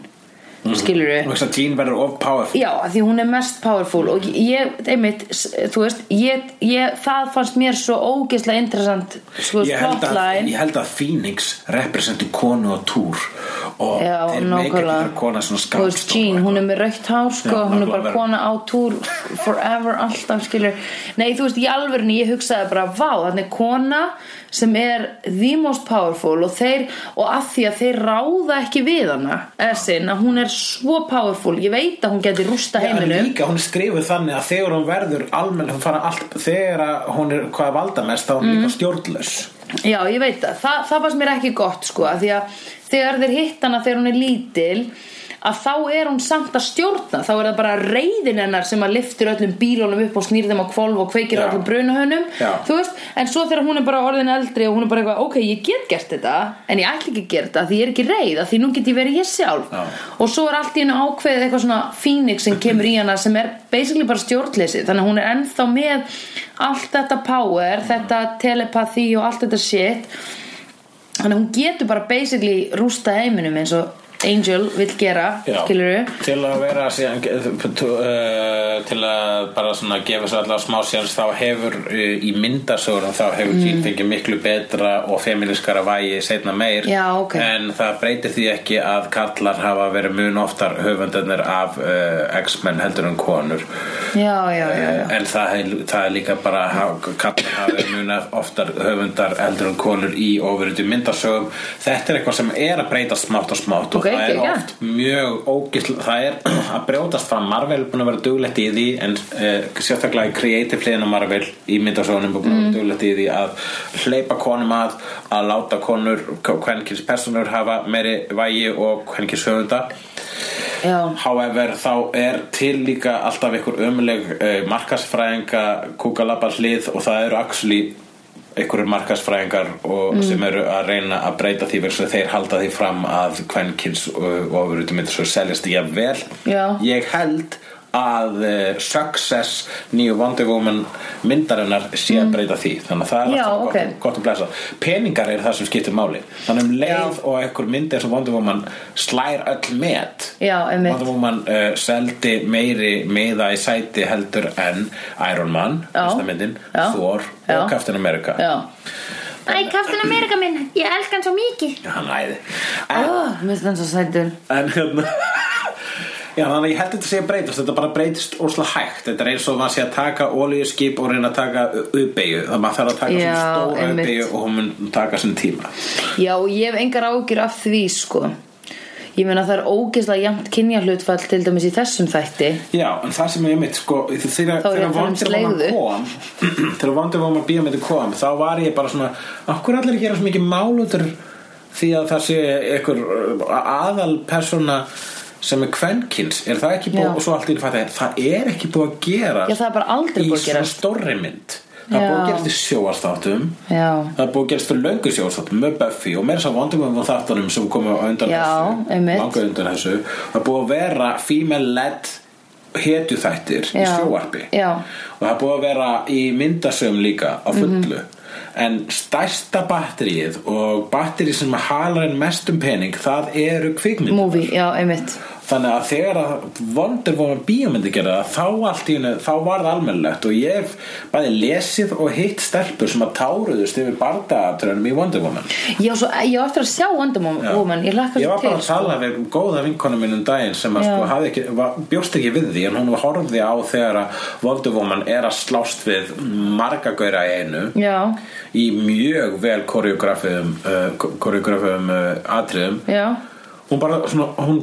Mm. Skilur og þess að Jean verður of powerful Já, af því hún er mest powerful og ég, einmitt, s- þú veist ég, ég, það fannst mér svo ógeðslega interessant, sko, ég held, að, plotline ég held að Phoenix representu konu á túr og Já, þeir meikir nákvæmlega þar kona svona Þú veist, skapstóra Jean, hún er með rautt hár Já, sko, hún er nákvæmlega. bara kona á túr forever, alltaf skilur Nei, þú veist, í alvörni ég hugsaði bara vá, þannig kona sem er the most powerful og þeir og að því að þeir ráða ekki við hana eða sinn, að hún er svo powerful ég veit að hún geti rústa Já, en heiminum líka hún er skrifuð þannig að þegar hún verður almenn, hún fara allt, þegar að hún er hvað valda mest, þá er hún Mm. líka stjórnlaus Já, ég veit það. Þa, það fannst mér ekki gott sko, af því að þegar þeir hitt hana þegar hún er lítil, að þá er hún samt að stjórna, þá er það bara reyðin hennar sem að liftir öllum bílunum upp og snýr þeim á kvolf og kveikir Já. á öllum brunahönum, Já. þú veist, en svo þegar hún er bara orðin eldri og hún er bara eitthvað, ok, ég get gert þetta, en ég ætla ekki að gera þetta, því ég er ekki reið, af því nú get ég verið ég sjálf. Já. Og svo er allt í hennu ákveðið eitthvað svona fínix sem kemur í hana sem er basically bara stjórnleysi þannig að hún er ennþá með allt þetta power, þetta telepathy og allt þetta shit þannig að hún getur bara basically rústa heiminum eins og Angel vill gera, skilurðu Til að vera síðan, uh, til að bara svona gefa sér allavega smá sér þá hefur uh, í myndasögurum þá hefur mm. Jean fengið miklu betra og feminiskara vægi seinna meir Já, ok. en það breytir því ekki að kallar hafa verið mun oftar höfundarnir af uh, X-Men heldur en konur Já, já, já, já en það, er- það er líka bara að kallar hafi muna oftar höfundar eldur en konur í ofurðu myndasögum þetta er eitthvað sem er að breyta smátt og smátt Ok, og það er geggjað. oft mjög ógisl það er (clears throat) að brjótast fram Marvel er búin að vera duglegt í því en uh, sérstaklega í creative hliðin á Marvel í myndasögunum er búin Mm. að vera duglegt í því að hleypa konum að að láta konur, hvernig personur hafa meiri vægi og hvernig höfunda Já. however þá er til líka alltaf einhver ömuleg uh, markasfræðinga kúkalabba hlið og það eru axli einhverjur markasfræðingar og, sem eru að reyna að breyta því versus að þeir halda því fram að kvenkins eh, og ofurutum myndir svo seljast ég vel Já. ég held að uh, Success nýju Wonder Woman myndarinnar sé að breyta því þannig að það er Mm. Já, alltaf ok. gott, gott að blæsa peningar er það sem skiptir máli þannig um leið Já. og einhver mynd eins og Wonder Woman slær öll met Já, einmitt. Wonder Woman uh, seldi meiri meða í sæti heldur en Iron Man, Já. fyrsta myndin Já. Thor Já. og Captain America Já, Æ, Captain America minn, ég elska hann svo mikið. hann æði Ó, en, Ah, mér finnst hann svo sætur en hérna Já, þannig að ég held þetta sé að breytast, þetta bara breytist óslega hægt, þetta er eins og maður sé að taka olíuskip og reyna að taka uppeyju þannig að maður þarf að taka Já, svona stóra einmitt. uppeyju og hún mun taka sinn tíma Já, og ég hef engar ágjur af því, sko Ég meina það er ógeðslega jæmt kynja hlutfall til dæmis í þessum þætti Já, en það sem ég mitt, sko, þegar Þá er ég þegar að tala um Wonder Woman sleigðu. kom þegar Wonder Woman bíómyndi kom þá var ég bara svona, okkur allir að gera svo mikið mál út úr því að það sé einhver aðal persóna sem er kvenkins er það ekki búið, Já. og svo allt í einu fattaði, það er ekki búið að gera Já, það er bara aldrei í búið að svona gerast. stórri mynd það er Já. búið að gerast í sjóastáttum Já. það er búið að gerast fyrir löngu sjóastáttum með Buffy og meira þess að Wonder Woman þáttunum sem komu á undan Já, einmitt. þessu langa undan þessu það er búið að vera female-led hetju þættir í Já, sjóarpi já. og það er búið að vera í myndasögum líka á fullu Mhm. en stærsta batterið og batterið sem halar en mestum pening það eru kvikmynd Movie, já, einmitt þannig að þegar að Wonder Woman bíómyndi gera það þá allt í henni, þá var það almennilegt og ég hef bæði lesið og hitt stelpur sem að táruðust yfir bardaðatrönum í Wonder Woman Já, svo, ég á eftir að sjá Wonder Já. Woman Ég lakka Ég svo var bara til, sko. að tala við góða vinkonu minn um daginn sem að Já. sko hafði ekki, var, bjóst ekki við því en hún horfði á þegar að Wonder Woman er að slást við marga gauðra í einu Já, í mjög vel koreografum uh, koreografum uh, atriðum já hún bara svona, hún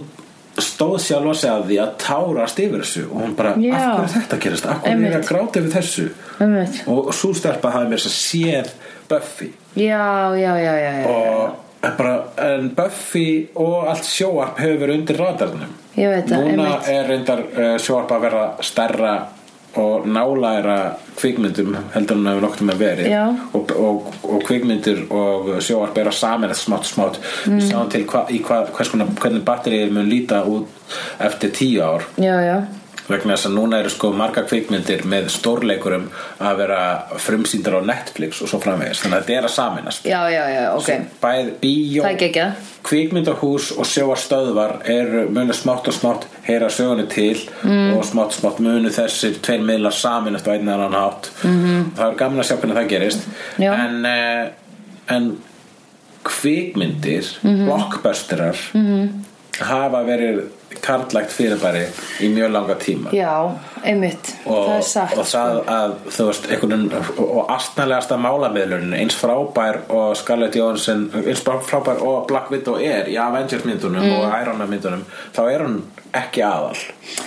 stóð sjálf að segja því að tárast yfir þessu og hún bara, Já. af hverju er þetta að gerast af hverju er ég Einmitt. að gráta yfir þessu Einmitt. og svo stelpa hafði mér þess að séð Buffy Já, já, já, já, já. og bara, en Buffy og allt sjóarp hefur verið undir radarnum Ég veit það, núna einmitt. er reyndar uh, sjóarp að vera stærra og nálæra kvikmyndum heldur hann hefur nokkuð með verið Já. og, og, og kvikmyndir og sjóarp er að samerast smátt smátt mm. við sjáum til hva, í hva, hvers konar hvernig batterið mun líta út eftir tíu ár Já, já, vegna þess að núna eru sko marga kvikmyndir með stórleikurum að vera frumsýndar á Netflix og svo framvegis þannig að þetta er að saminast já, já, já, ok bæð bíó, Það er geggjað. kvikmyndahús og sjóastöðvar eru munu smátt og smátt heyra sögunni til Mm. og smátt og smátt munu þessir tveir miðlar saminast á einn eða annan hátt -hmm. það er gaman að sjá hvernig það gerist Mhm. Já. en, eh, en kvikmyndir Mhm. blockbusterar -hmm. hafa verið karlægt fyrirbæri í mjög langa tíma Já, einmitt, og það er sko. sagt og það að þú veist einhvern veginn og astnalegasta málamiðlunin eins frábær og Scarlett Johansson eins frábær og Black Widow er í Avengers myndunum Mm. og Iron Man myndunum þá er hún ekki aðal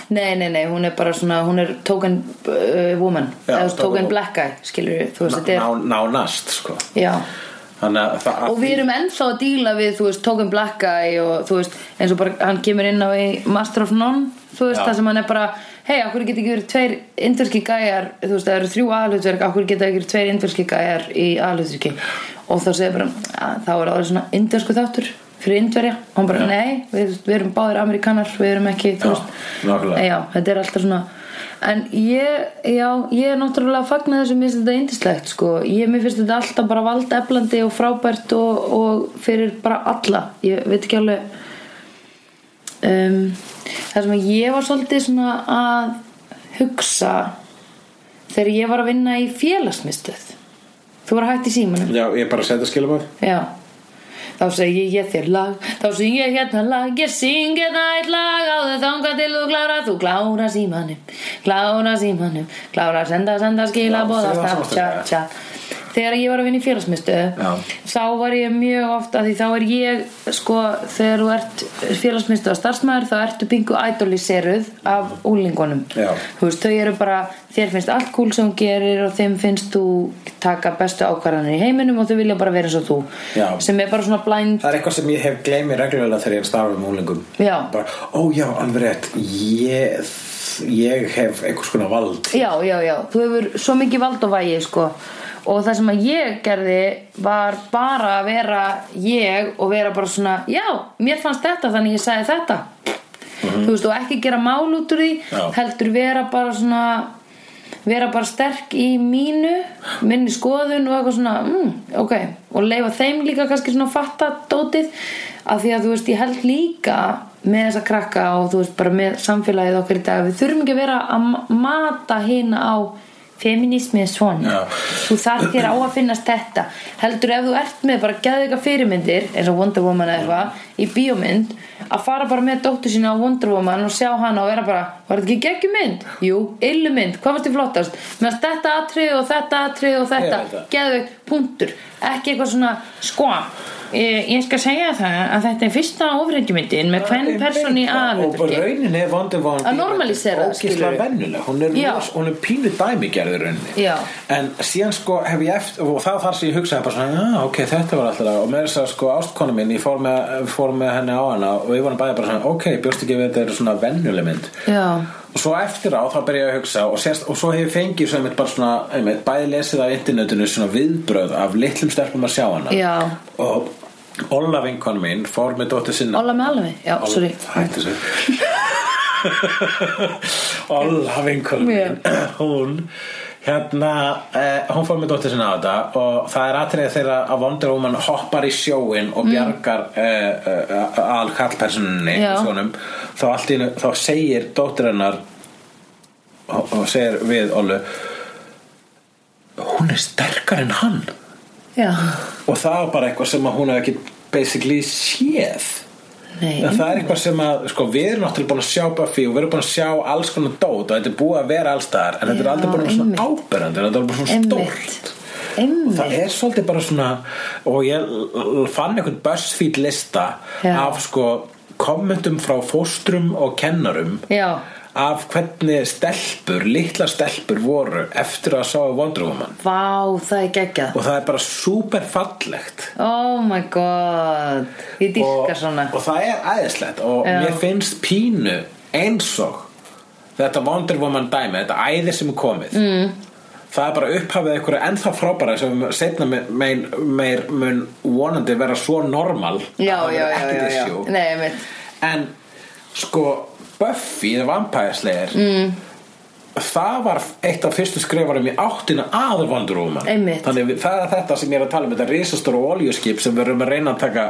Nei, nei, nei, hún er bara svona, hún er token uh, woman Já, Eða token token- black guy, skilur við, þú veist, þetta er ná, nánast sko Já, þannig að það og við erum ennþá að díla við, þú veist, token black guy og þú veist, eins og bara, hann kemur inn á í Master of None, þú veist, Já. það sem hann er bara Hei, akkur geta ekki verið tveir indverski gæjar, þú veist, það eru þrjú aðhlutverk, akkur geta ekki verið tveir indverski gæjar í aðhlutverki Og þá segir bara, að, þá er það orðið svona indversku þáttur fyrir indverja Og hann bara, Já. nei, við, við erum báðir amerikanar, við erum ekki, þú Já, veist nákvæmlega. Já, þetta er alltaf svona En ég, já, ég er náttúrulega að fagna þessu, mér finnst þetta indislegt sko Ég, mér finnst þetta alltaf bara valdeflandi og frábært og, og fyrir bara alla Ég veit ekki alveg um, Það sem að ég var svolítið svona að hugsa Þegar ég var að vinna í félagsmiðstöð Þú var hætt í símanum já, ég er bara að setja skilum að Já Þá segi ég þér lag, þá syng ég hérna lag, ég syng hérna eitt lag, áður þanga til þú klára, þú klára símanum, klára símanum, klára senda, senda, skila, Já, bóða, segðu það staf, samstundis, tja, ja. tja. þegar ég var að vinna í Já. félagsmyndstöðu þá var ég mjög oft að því þá er ég sko þegar þú ert félagsmyndstöða starfsmæður þá ertu pingu idoliseruð af úlingunum Já. þú veist þau eru bara þér finnst allt kúl sem þú gerir og þeim finnst þú taka bestu ákvarðanir í heiminum og þau vilja bara vera eins og þú Já. sem er bara svona blind Það er eitthvað sem ég hef gleymið reglulega þegar ég er starfum úlingum Já. Bara, ó já, alveg rétt Ég, ég hef einhvers konar vald Já, já, já, þú hefur svo mikið vald og vægi sko og það sem að ég gerði var bara að vera ég og vera bara svona já, mér fannst þetta þannig ég sagði þetta þú veist og ekki gera mál út úr því Mhm. Já. heldur vera bara svona vera bara sterk í mínu minni skoðun og eitthvað svona mm, ok, og leifa þeim líka kannski svona fatta dótið af því að þú veist, ég held líka með þessa krakka og þú veist, bara með samfélagið okkar í dag, við þurfum ekki að vera að ma- mata hina á feminismi er svona Já. þú þarf þér á að finnast þetta heldur ef þú ert með bara geðu eitthvað fyrirmyndir eins og Wonder Woman eða eitthvað í bíómynd að fara bara með dóttur sína á Wonder Woman og sjá hana og vera bara var þetta ekki geggjumynd? Jú, illumynd, hvað varst þið flottast? meðan þetta atrið og þetta atrið og Ég þetta veit það. geðu punktur ekki eitthvað svona sko Ég, ég skal segja það að þetta er fyrsta ofreikjumyndin með hvern person í Og bara aðalutverki raunin er vandi vandi Að normalisera, Ógislega skilurðu. vennuleg Hún er, Já. ros- hún er pínu dæmigerður rauninni Já. En síðan sko hef ég eftir Og það þar sem ég hugsaði bara svona Já, ok, þetta var alltaf Og með þess að sko ástkonu minn Ég fór með, fór með henni á hana Og ég var hann bæði bara svona Ok, bjóst ekki við að þetta er svona vennuleg mynd já, og svo eftir á þá byrja ég að hugsa og, sérst, og svo hef ég fengið svona, einmitt bara svona einmitt, bæði lesið af internetinu svona viðbröð af litlum stelpum að sjá hana Já. og Olla vinkonu mín fór með dóttir sinna Óla með alveg, já, sorry hætti sér (laughs) Olla vinkonu mín (clears throat) hún hérna eh, hún fór með dóttir sinna á þetta og það er atrið þegar að Wonder Woman hoppar í sjóin Mm. og bjargar eh, eh, al kallpersonunni í Já. sjónum þá, allt í einu, þá segir dóttir hennar og, og segir við Ollu hún er sterkar en hann Já, og það var bara eitthvað sem að hún hef ekki basically séð nei En það er eitthvað sem að, sko, við erum náttúrulega búin að sjá Buffy og við erum búin að sjá alls konar dót og þetta er búið að vera alls staðar en þetta er Já, aldrei búin að vera svona einmitt. áberandi þetta er bara svona stórt Einmitt. Einmitt. það er svolítið bara svona og ég l- l- fann einhvern BuzzFeed lista Já. af sko kommentum frá fóstrum og kennarum Já. af hvernig stelpur, litla stelpur voru eftir að sá Wonder Woman Vá, það er geggjað og það er bara super fallegt Oh my god Ég dyrka svona og það er æðislegt og Já. mér finnst pínu eins og þetta Wonder Woman dæmi, þetta æði sem er komið mm. það er bara upphafið einhverju ennþá frábæra sem setna meir, meir mun vonandi vera svo normal Já, að það já, verður já, ekkert já, já. issue. Nei, mitt en sko Buffy, The Vampire Slayer mm. það var eitt af fyrstu skrifarum í áttina að Wonder Woman Einmitt. þannig við- það er þetta sem ég er að tala um þetta risastóra oljuskip sem við erum að reyna að taka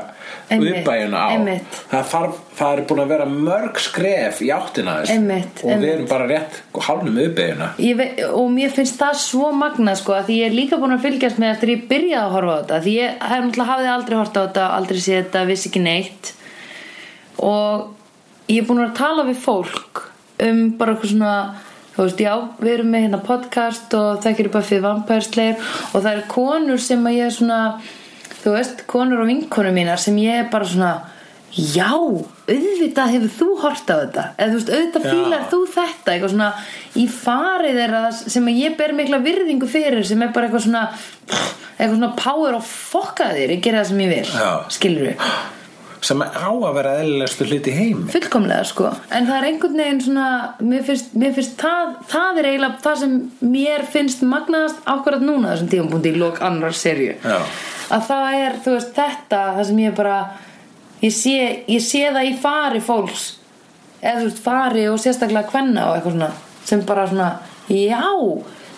Einmitt, uppæjuna á einmitt. það, þarf, það er búin að vera mörg skref í áttina þess Einmitt, og við einmitt. erum bara rétt hálnum uppæjuna Ég vei, og mér finnst það svo magna sko, að því ég er líka búin að fylgjast með eftir ég byrjaði að horfa á þetta því ég hef náttúrulega hafði aldrei horft á þetta aldrei séð þetta, vissi ekki neitt og ég er búin að vera að tala við fólk um bara eitthvað svona þú veist, já, við erum með hérna podcast og það gerir bara fyrir vampærsleir og það eru konur sem að ég er svona þú veist, konur og vinkonur mínar sem ég er bara svona já, auðvitað hefur þú hort á þetta eða þú veist, auðvitað Já. fílar þú þetta eitthvað svona í farið þeirra það sem að ég ber mikla virðingu fyrir sem er bara eitthvað svona eitthvað svona power og fokka þér ég gera það sem ég vil, Já. skilur sem á að vera eðlilegstu hluti í heimi fullkomlega sko, en það er einhvern veginn svona, mér finnst, mér finnst það, það er eiginlega það sem mér finnst magnaðast akkurat núna á þessum tíðanbúndi í lok annar serju Já. að það er, þú veist, þetta það sem ég bara, ég sé ég sé það í fari fólks eða þú veist, fari og sérstaklega kvenna og eitthvað svona, sem bara svona já,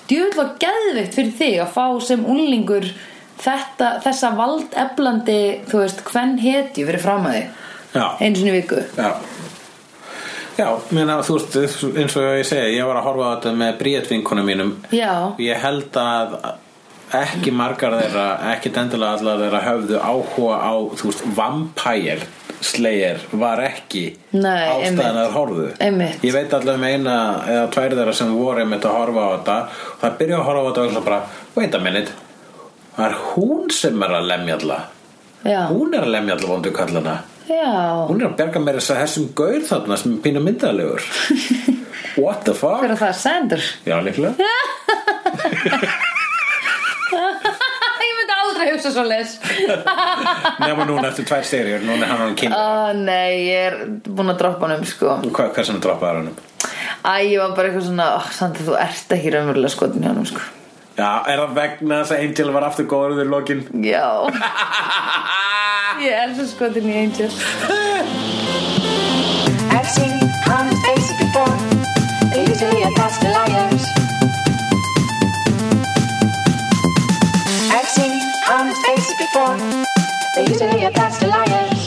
djúvill var geðveikt fyrir þig að fá sem unlingur þetta, þessa valdeflandi þú veist, hvern hetju fyrir fram að þig Já. einu sinni í viku Já Já, meina, þú veist, eins og ég segi ég var að horfa á þetta með bríðatvinkunum mínum Já. ég held að ekki margar þeirra ekki dendilega allar þeirra höfðu áhuga á, þú veist, vampire slayer var ekki Nei, einmitt. ástæðan að horfðu Einmitt. ég veit allavega um eina eða tvær þeirra sem voru einmitt að horfa á þetta og það byrja að horfa á þetta og það bara, wait a minute það er hún sem er að lemja alla Já. hún er að lemja alla vondu kallana Já. hún er að berga mér þess að segja þessum gaur þarna sem er pínu myndalegur (laughs) what the fuck Hver er það? Sandur? já líklega (laughs) ég myndi aldrei hugsa svo les. nema núna eftir tvær serjur núna er hann hann kynna Ó, nei, ég er búin að droppa hann um, sko. Hva, hversum droppaði hann um? Æ, ég var bara eitthvað svona, oh, Sandur, þú ert ekki raunverulega skotin hjá hann, sko. Já, er það vegna þess að Angel var aftur góður í lokin? Já. (laughs) ég er svo skotin í Angel. I've seen honest faces before. They're usually a pass for liars. I've seen honest faces before. They're usually a pass for liars.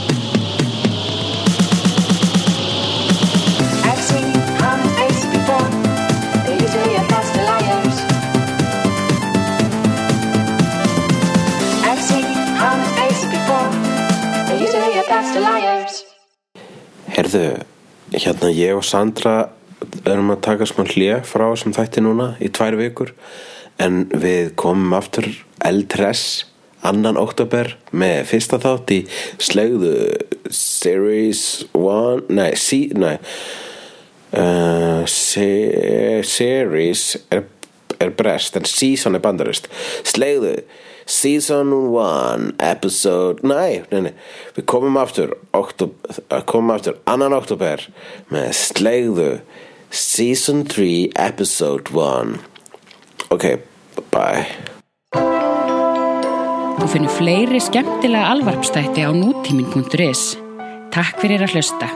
I've seen honest faces before. They're usually a pass for liars. I've seen honest faces before. They're usually a pass for liars. Herðu, hérna ég og Sandra erum að taka smá hlje frá sem þætti núna í tvær vikur en við komum aftur eldress annan oktober með fyrsta þátt í slegðu series 1 nei, sí, nei uh, se, series er, er brest en season er bandarist slegðu season 1 episode, nei, nei, nei við komum aftur oktober, komum aftur annan oktober með slegðu season 3 episode 1 ok, bye Þú finnur fleiri skemmtilega alvarpstætti á nútímin.is. Takk fyrir að hlusta.